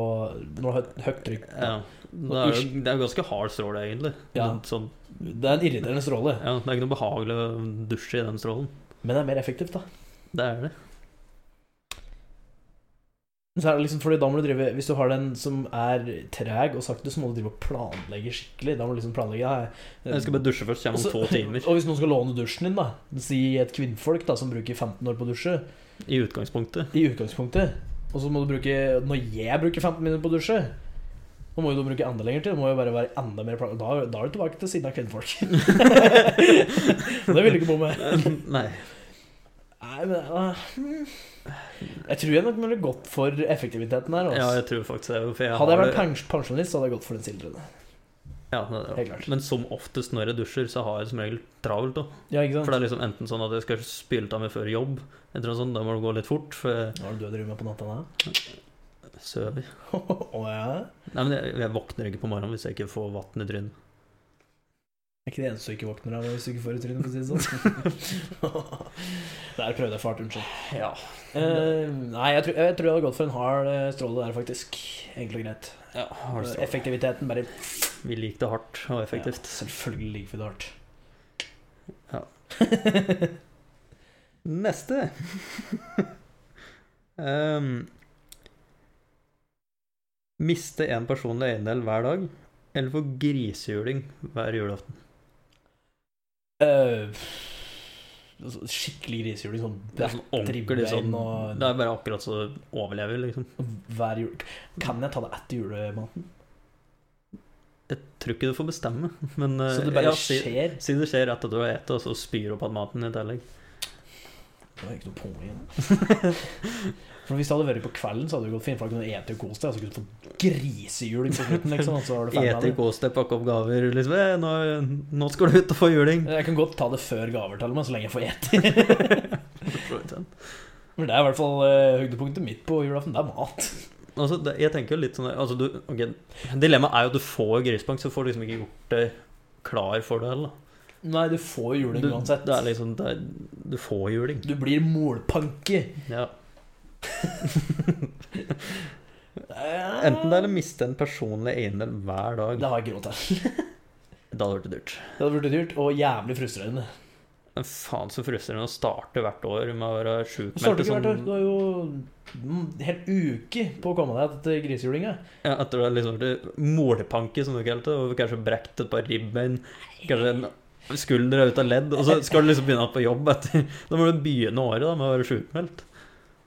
S2: Når du har høyt- høyt trykk.
S1: Ja. Det er, jo- det er jo ganske hard stråle, egentlig.
S2: Ja.
S1: Men Sånn,
S2: Det er en irriterende stråle,
S1: ja, det er ikke noe behagelig å dusje i den strålen.
S2: men det er mer effektivt, da.
S1: Det er det.
S2: Men Så er det liksom, fordi da må du drive Hvis du har den som er treg og sakte, så må du drive og planlegge skikkelig. Da må du liksom planlegge ja,
S1: Jeg skal bare dusje først, kommer om to timer.
S2: Og hvis noen skal låne dusjen din, da Si et kvinnfolk da som bruker 15 år på å dusje,
S1: I utgangspunktet.
S2: i utgangspunktet, og så må du bruke Når jeg bruker 15 minutter på å dusje nå må jo du bruke enda lengre tid. Det må jo bare være enda mer plan da, da er du tilbake til siden av kvinnfolk. Og det vil du ikke bo med.
S1: Nei.
S2: Nei, men eh, hmm. Jeg tror jeg nok ville gått for effektiviteten her.
S1: Ja,
S2: Altså.
S1: jeg tror faktisk det. For jeg
S2: hadde jeg
S1: har
S2: vært
S1: det-
S2: pens- pensjonist, så hadde jeg gått for den sildrende.
S1: Ja, det-
S2: Helt klart.
S1: Men som oftest når jeg dusjer, så har jeg som regel travelt. Da.
S2: Ja, ikke
S1: For
S2: sant?
S1: det er liksom enten sånn at jeg skal spyle av meg før jobb, eller noe sånt, da må det gå litt fort, for jeg
S2: Hva er det du driver med på natta da?
S1: sover.
S2: Å ja.
S1: Nei, men jeg, jeg våkner ikke på morgenen hvis jeg ikke får vann i trynet.
S2: Er ikke det eneste du ikke våkner av hvis du ikke får i trynet, for å si det sånn. der prøvde jeg fart, unnskyld.
S1: Ja.
S2: Eh, nei, jeg tror, jeg tror jeg hadde gått for en hard eh, stråle der, faktisk. Enkelt og greit. Eh,
S1: ja har du stråle.
S2: Effektiviteten bare
S1: Vi liker det hardt og effektivt.
S2: Ja, selvfølgelig ligger for det
S1: Ja.
S2: hardt.
S1: Neste. um, miste en personlig eiendel hver dag, eller få grisehjuling hver julaften.
S2: Eh, altså, skikkelig grisehjuling, sånn
S1: Det er sånn ordentlig sånn
S2: dribbein og-
S1: Det er bare akkurat så du overlever, liksom.
S2: hver jul. Kan jeg ta det etter julematen?
S1: Jeg tror ikke du får bestemme, men uh,
S2: Så det bare
S1: ja, si,
S2: skjer?
S1: si det skjer etter at du har spist, og så spyr du opp igjen maten i tillegg.
S2: Det var ikke noe poeng. For Hvis det hadde vært på kvelden, så hadde det gått fint. For da kunne du ete og kose deg. Og så kunne du få grisehjuling på slutten. Liksom, og så var du ferdig
S1: Ete i
S2: med det.
S1: kåste, pakke opp gaver, liksom. Eh, nå, nå skal du ut og få juling.
S2: Jeg kan godt ta det før gaver, til og med, så lenge jeg får ete. Men det er i hvert fall eh, høydepunktet mitt på julaften. Det er mat.
S1: Altså, det, jeg tenker jo litt sånn der, altså, du, ok, Dilemmaet er jo at du får grisebank, så får du liksom ikke gjort deg klar for det heller. da.
S2: Nei, du får juling
S1: Du,
S2: uansett.
S1: det er liksom, det er, du får juling.
S2: Du blir målpanke.
S1: Ja. Enten det er å miste en personlig eiendel hver dag.
S2: Det har jeg ikke råd til.
S1: Da hadde det vært dyrt.
S2: Det hadde blitt dyrt og jævlig frustrerende.
S1: Men faen så frustrerende å starte hvert år med å være
S2: Du
S1: sjukmeldt.
S2: starter ikke
S1: Sånn,
S2: hvert år. Du har jo en hel uke på å komme deg til grisehjulinga.
S1: ja, etter å ha liksom vært målepanke, som du kalte det, og kanskje brekt et par ribbein, kanskje en skulder er ute av ledd, og så skal du liksom begynne på jobb etter Da må du begynne året da med å være sjukmeldt.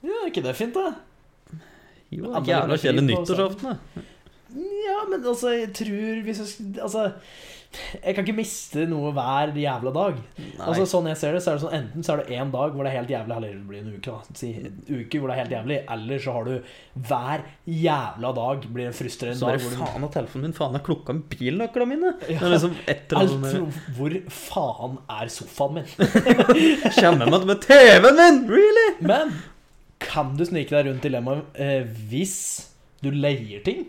S2: Ja, er ikke det fint, da?
S1: Jo,
S2: Ja, men det altså.
S1: jævla
S2: blir
S1: kjedelig
S2: fint på
S1: nyttårsaften, da.
S2: Ja, men altså, jeg tror hvis jeg, sk- Altså, jeg kan ikke miste noe hver jævla dag. Altså, Sånn jeg ser det, så er det sånn enten så er det én dag hvor det er helt jævlig, eller det blir en uke, da. Si, en uke hvor det er helt jævlig, eller så har du hver jævla dag blir en frustrerende
S1: så bare
S2: dag. Hvor du,
S1: faen av telefonen min, faen av klokka med bilnøklene mine!
S2: Ja.
S1: Det er liksom et eller
S2: alt,
S1: annet sånn
S2: for- hvor faen er sofaen min?
S1: der, Kommer med at med TV-en min! Really?
S2: Men kan du snike deg rundt dilemmaet eh, hvis du leier ting?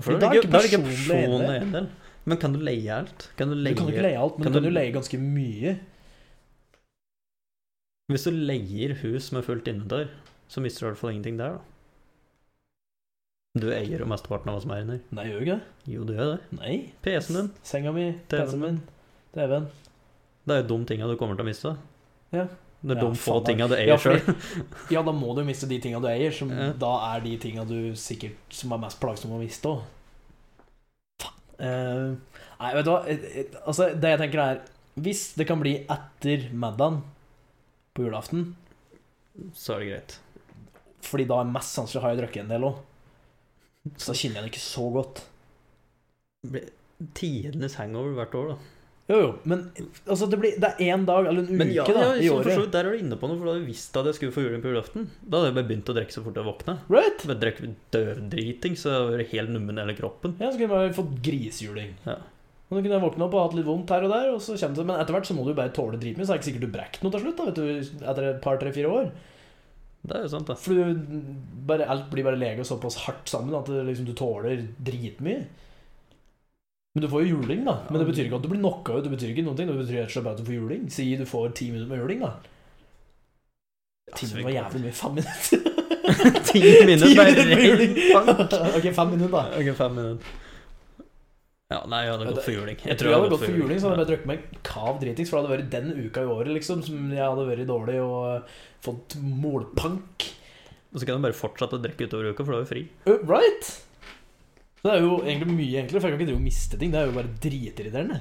S1: For da
S2: Da er
S1: er det ikke,
S2: ikke
S1: da er det ikke
S2: personlig
S1: personlig
S2: eiendel.
S1: eiendel. Men kan du leie alt? Kan du
S2: Du
S1: leie
S2: kan jo ikke leie alt, men
S1: Kan
S2: du kan
S1: du-
S2: jo leie ganske mye.
S1: Hvis du leier hus med fullt innendør, så mister du i hvert fall ingenting der, da. Du eier jo mesteparten av hva som er inni der.
S2: Nei, gjør jeg ikke det?
S1: Jo, du gjør det.
S2: Nei.
S1: PC-en din.
S2: Senga mi,
S1: TV-en
S2: PC-en min, TV-en.
S1: Det er jo de tinga du kommer til å miste.
S2: Ja.
S1: Det er
S2: Ja,
S1: de få
S2: faen,
S1: tinga du eier
S2: Ja,
S1: selv.
S2: fordi, ja, da må du miste de tinga du eier, som
S1: Ja.
S2: da er de tinga du sikkert som er mest plagsomme å miste òg. nei, vet du hva? Eh, eh, Altså, det jeg tenker er Hvis det kan bli etter middagen på julaften
S1: Så er det greit.
S2: Fordi da er mest sannsynlig har jeg drukket en del òg. Så da kjenner jeg det ikke så godt.
S1: Blir Tidenes hangover hvert år, da.
S2: Jo, jo, men altså, det, blir, det er én dag eller en uke
S1: Men ja,
S2: da,
S1: ja,
S2: Mm, i
S1: så for så
S2: året.
S1: vidt, der er du inne på noe, for da hadde jeg visst at jeg skulle få juling på julaften. Da hadde jeg bare begynt å drikke så fort jeg våkna.
S2: Right?
S1: Jeg drakk døvdriting, så jeg var helt nummen i hele kroppen.
S2: Ja, så kunne jeg bare fått grisehjuling.
S1: Ja.
S2: Og så kunne jeg våkne opp og hatt litt vondt her og der, og så kommer det, men etter hvert så må du jo bare tåle dritmye, så er det ikke sikkert du brekker noe til slutt, da, vet du, etter et par, tre, fire år.
S1: Det er jo sant, da.
S2: For du, bare, alt blir bare lega såpass hardt sammen at det, liksom, du tåler dritmye. Men du får jo juling, da. Men det betyr ikke at du blir knocka ut, det betyr ikke noen ting, det betyr rett og slett bare at du får juling. Si du får ti minutter med juling, da. Ti
S1: Altså, vi-
S2: minutter var jævlig mye. Fem minutter.
S1: Ti minutter var
S2: med
S1: ren
S2: juling.
S1: bank.
S2: ok, fem minutter, da.
S1: Ok, fem minutter. Ja, nei, jeg hadde gått for juling.
S2: Jeg tror jeg hadde gått for juling, så hadde jeg
S1: Ja.
S2: bare drukket meg kav dritings. For det hadde vært den uka i året liksom som jeg hadde vært dårlig og eh, fått målpank.
S1: Og så kan du bare fortsette å drikke utover uka, for da er du fri.
S2: Uh, Right? Det er jo egentlig mye enklere, for jeg kan ikke drive og miste ting. Det er jo bare dritirriterende.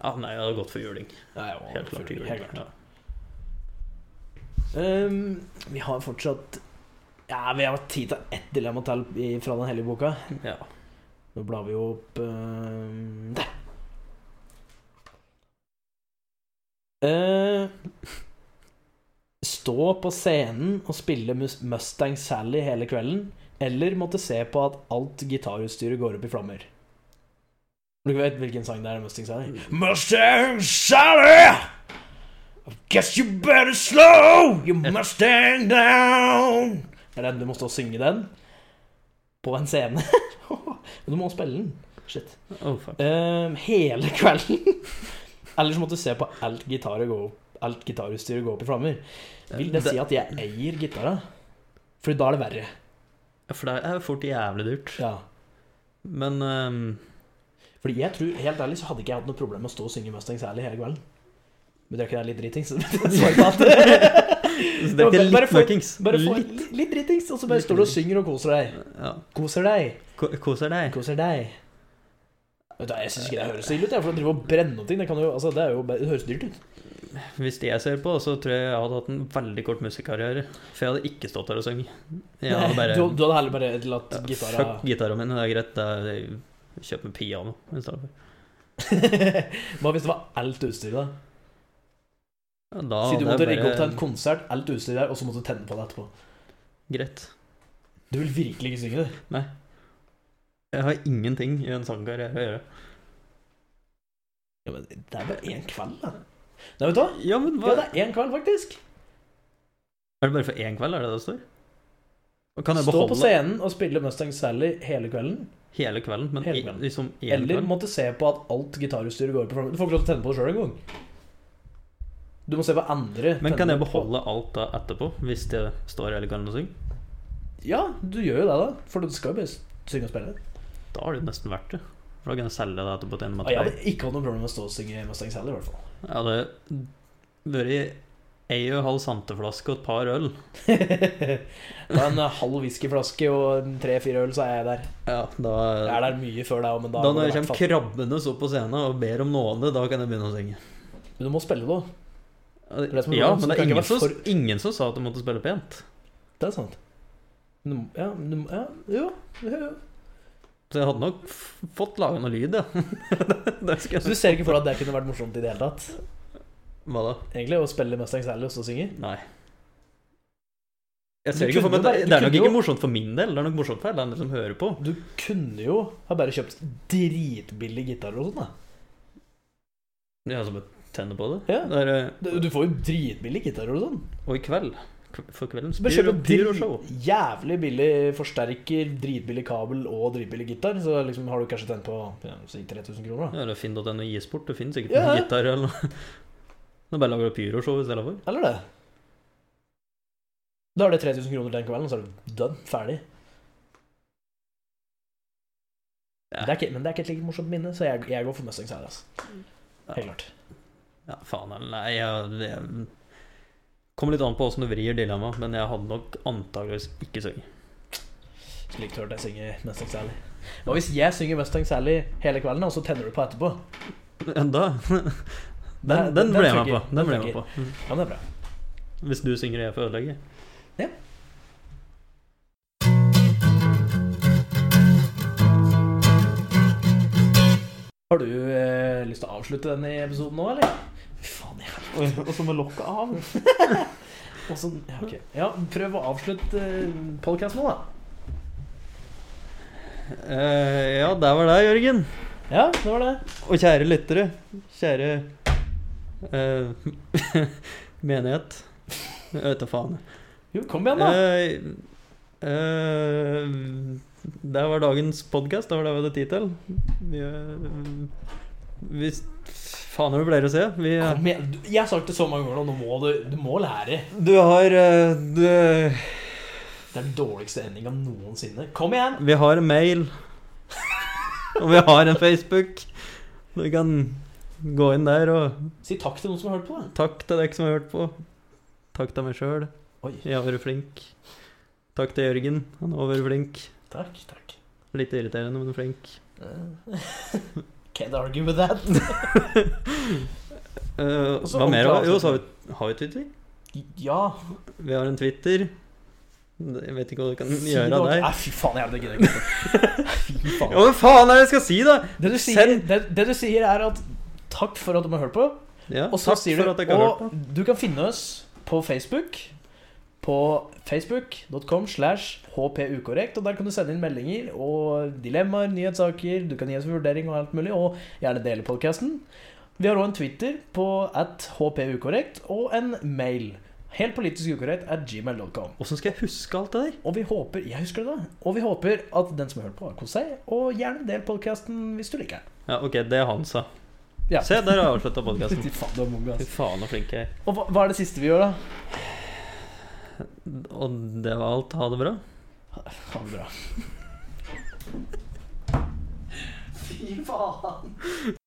S1: Ja, nei, jeg hadde gått for juling.
S2: Nei, jeg må
S1: Helt klart.
S2: full-
S1: juling.
S2: helt
S1: Ja.
S2: klart. Ehm, vi har fortsatt Ja, vi har tid til ett dilemma til i- fra den hellige boka.
S1: Ja.
S2: Nå blar vi jo opp ehm, Der! Eh, stå på scenen og spille Mus- Mustang Sally hele kvelden, eller måtte se på at alt gitarutstyret går opp i flammer. Du vet hvilken sang det er? Mustang Sally? Mustang Sally! Guess you better slow your Mustang down. Er det, du må stå og synge den på en scene. Men du må spille den. Shit.
S1: Oh, fuck.
S2: Ehm, hele kvelden. Ellers måtte du se på alt, gitaret gå opp, alt gitarutstyret gå opp i flammer. Vil det si at jeg eier gitara? For da er det verre.
S1: For det er jo fort jævlig dyrt.
S2: Ja.
S1: Men ehm,
S2: Fordi jeg tror, helt ærlig, så hadde ikke jeg hatt noe problem med å stå og synge Mustang Sally hele kvelden. Men det er ikke det litt dritings.
S1: Så det er ikke
S2: Bare
S1: litt
S2: få-
S1: møkkings.
S2: Bare få
S1: Litt.
S2: litt, litt dritings, og så bare står du og synger og koser deg.
S1: Ja.
S2: Koser deg.
S1: Ko- Koser deg.
S2: Koser deg. Vet du, hva, jeg syns ikke det høres så ille ut, jeg, for å drive og brenne noe ting, det, kan jo, altså, det, er jo, bare- det høres dyrt ut.
S1: Hvis det jeg ser på, så tror jeg jeg hadde hatt en veldig kort musikkarriere. For jeg hadde ikke stått der og sunget. Jeg hadde bare
S2: du, du hadde heller bare latt
S1: Ja,
S2: gitara
S1: Fuck gitaren min, det er greit. Det er, kjøp meg piano i stedet. for.
S2: Hva hvis det var alt utstyret, da?
S1: Ja, Da
S2: si du
S1: hadde
S2: måtte
S1: jeg
S2: rigge
S1: bare-
S2: opp til en konsert, alt utstyret der, og så måtte du tenne på det etterpå.
S1: Greit.
S2: Du vil virkelig ikke synge det.
S1: Jeg har ingenting i en sangkarriere å gjøre.
S2: Ja, men det er bare én kveld, da. Nei, vet du hva?
S1: Ja, men
S2: Ja,
S1: hva?
S2: det er én kveld, faktisk.
S1: Er det bare for én kveld, er det det står? Og kan jeg
S2: Stå på
S1: beholde
S2: scenen og spille Mustang Sally hele kvelden,
S1: hele kvelden, men
S2: Hele
S1: i-
S2: kvelden.
S1: liksom én
S2: eller
S1: kveld?
S2: måtte se på at alt gitarutstyret går på flammer. Du får ikke lov til å tenne på det sjøl engang. Du må se hva andre
S1: Men kan
S2: tenner
S1: jeg
S2: på.
S1: beholde alt da etterpå, hvis det står hele kvelden og synger?
S2: Ja, du gjør jo det, da. For du skal jo bare synge og spille.
S1: Da har det jo nesten vært det. For da kan jeg selge det etterpå til en
S2: Og jeg
S1: matreir.
S2: hadde ikke hatt noe problem med å stå og synge Mustang Sally, i hvert fall.
S1: Jeg hadde vært ei og en halv santeflaske og et par øl.
S2: da en eh, halv whiskyflaske og en tre-fire øl, så er jeg der.
S1: Ja, da,
S2: Jeg er der mye før deg òg, men da,
S1: da,
S2: må
S1: når
S2: det
S1: jeg
S2: i hvert
S1: kommer
S2: fall-
S1: krabbende så på scenen og ber om nåde, da kan jeg begynne å synge.
S2: Men du må spille, da. er det som er
S1: Ja,
S2: bra, så
S1: men det
S2: kan
S1: er
S2: ikke
S1: ingen
S2: være
S1: som, ingen som sa at du måtte spille pent.
S2: Det er sant. Men Du, må- ja, men du, må- ja, jo, jo, jo.
S1: Så jeg hadde nok f- fått laga noe lyd, ja. det
S2: Så
S1: skal
S2: du
S1: jeg
S2: ser ikke for deg at det kunne vært morsomt i det hele tatt?
S1: Hva da?
S2: Egentlig, Å spille Mustang Sally og så synge?
S1: Nei. Jeg
S2: Du
S1: ser ikke for meg,
S2: kunne bare-
S1: det,
S2: du
S1: det er nok
S2: kunne
S1: ikke
S2: jo-
S1: morsomt for min del, det er nok morsomt for alle andre som hører på.
S2: Du kunne jo ha bare kjøpt dritbillig gitar og sånn, da.
S1: Jeg har bare tenner på det.
S2: Ja.
S1: det er, eh,
S2: Du du får jo dritbillig gitar og sånn.
S1: og i kveld k- For kvelden
S2: Så bare kjøp en
S1: pyro- pyroshow.
S2: drit- jævlig billig forsterker, dritbillig kabel og dritbillig gitar, så liksom har du kanskje tent på ja, si 3000 kroner, da.
S1: Ja, Eller finn.no isport. Det finnes sikkert
S2: Ja,
S1: noen
S2: ja.
S1: gitar eller noe. Nå bare lager du pyroshow i stedet for.
S2: Eller det. Da er det 3000 kroner den kvelden, og så er du dønn ferdig.
S1: Ja.
S2: Det er ikke, men det er ikke et like morsomt minne, så jeg, jeg går for Mustangs her, altså. Helt klart.
S1: Ja, faen eller nei, jeg, jeg Kommer litt an på åssen du vrir dilemmaet, men jeg hadde nok antageligvis ikke sunget.
S2: Skulle ikke hørt deg synge Mustang Sally. Hva hvis jeg synger Mustang Sally hele kvelden, og så tenner du på etterpå?
S1: Enda. Den,
S2: Nei,
S1: den
S2: den
S1: ble jeg med
S2: funker.
S1: på. Den
S2: Den
S1: ble jeg med på. Mm.
S2: Ja, men det er bra.
S1: Hvis du synger jeg får ødelegge.
S2: Ja. Har du eh, lyst til å avslutte denne episoden nå, eller? Fy faen, jeg
S1: Og så må lokket av.
S2: Og så, ja, ok. ja, prøv å avslutte podkasten nå, da.
S1: Eh, ja, der var deg, Jørgen.
S2: Ja, det var det.
S1: Og kjære lyttere. Kjære eh, menighet. Jeg vet da faen.
S2: Jo, kom igjen, da.
S1: Eh, eh, det var dagens podkast. Det var det vi hadde tid til. Vi, eh, vi Faen, det blir å se. Vi,
S2: Kom igjen. Du- Jeg har sagt det så mange ganger nå, nå må du, du må lære.
S1: du har eh, du,
S2: Det er den dårligste endinga noensinne. Kom igjen!
S1: Vi har en mail. Og vi har en Facebook. Du kan gå inn der, og
S2: Si takk til noen som har hørt på. da.
S1: takk til dere som har hørt på. Takk til meg sjøl.
S2: Oi.
S1: Jeg har vært flink. Takk til Jørgen. Han har vært flink.
S2: Takk, takk.
S1: Litt irriterende, men flink.
S2: Eh, Can't argue with that.
S1: Eh,
S2: Og så
S1: hva mer?
S2: ordentlig
S1: Jo, så har vi, har vi Twitter.
S2: Ja.
S1: Vi har en Twitter. Jeg vet ikke hva du kan
S2: si det
S1: gjøre av
S2: ordentlig.
S1: deg.
S2: Nei, fy faen, jeg gidder ikke. Fy
S1: Ja,
S2: faen.
S1: men faen er det jeg skal si, da?!
S2: Det du, sier,
S1: Send-
S2: det, det du sier, er at takk for at de har hørt på.
S1: Ja,
S2: Og så
S1: takk
S2: sier
S1: for
S2: du
S1: at jeg ikke har hørt
S2: Og du kan finne oss på Facebook. På facebook.com slash hpukorrekt. Og der kan du sende inn meldinger og dilemmaer, nyhetssaker, du kan gi oss en vurdering og alt mulig. Og gjerne dele podkasten. Vi har òg en Twitter på at hpukorrekt og en mail. Helt politisk ukorrekt at gmail.com.
S1: Åssen skal jeg huske alt det der?
S2: Og vi håper jeg husker det da, og vi håper at den som har hørt på, har kost seg. Og gjerne del podkasten hvis du liker den.
S1: Ja, OK, det er han sa.
S2: Ja.
S1: Se, der har jeg avslutta podkasten.
S2: Fy faen, du er mongo,
S1: Fy
S2: ass.
S1: faen, så flink jeg er.
S2: Og hva, hva er det siste vi gjør, da?
S1: Og det var alt. Ha det bra.
S2: Ha det bra. Fy faen.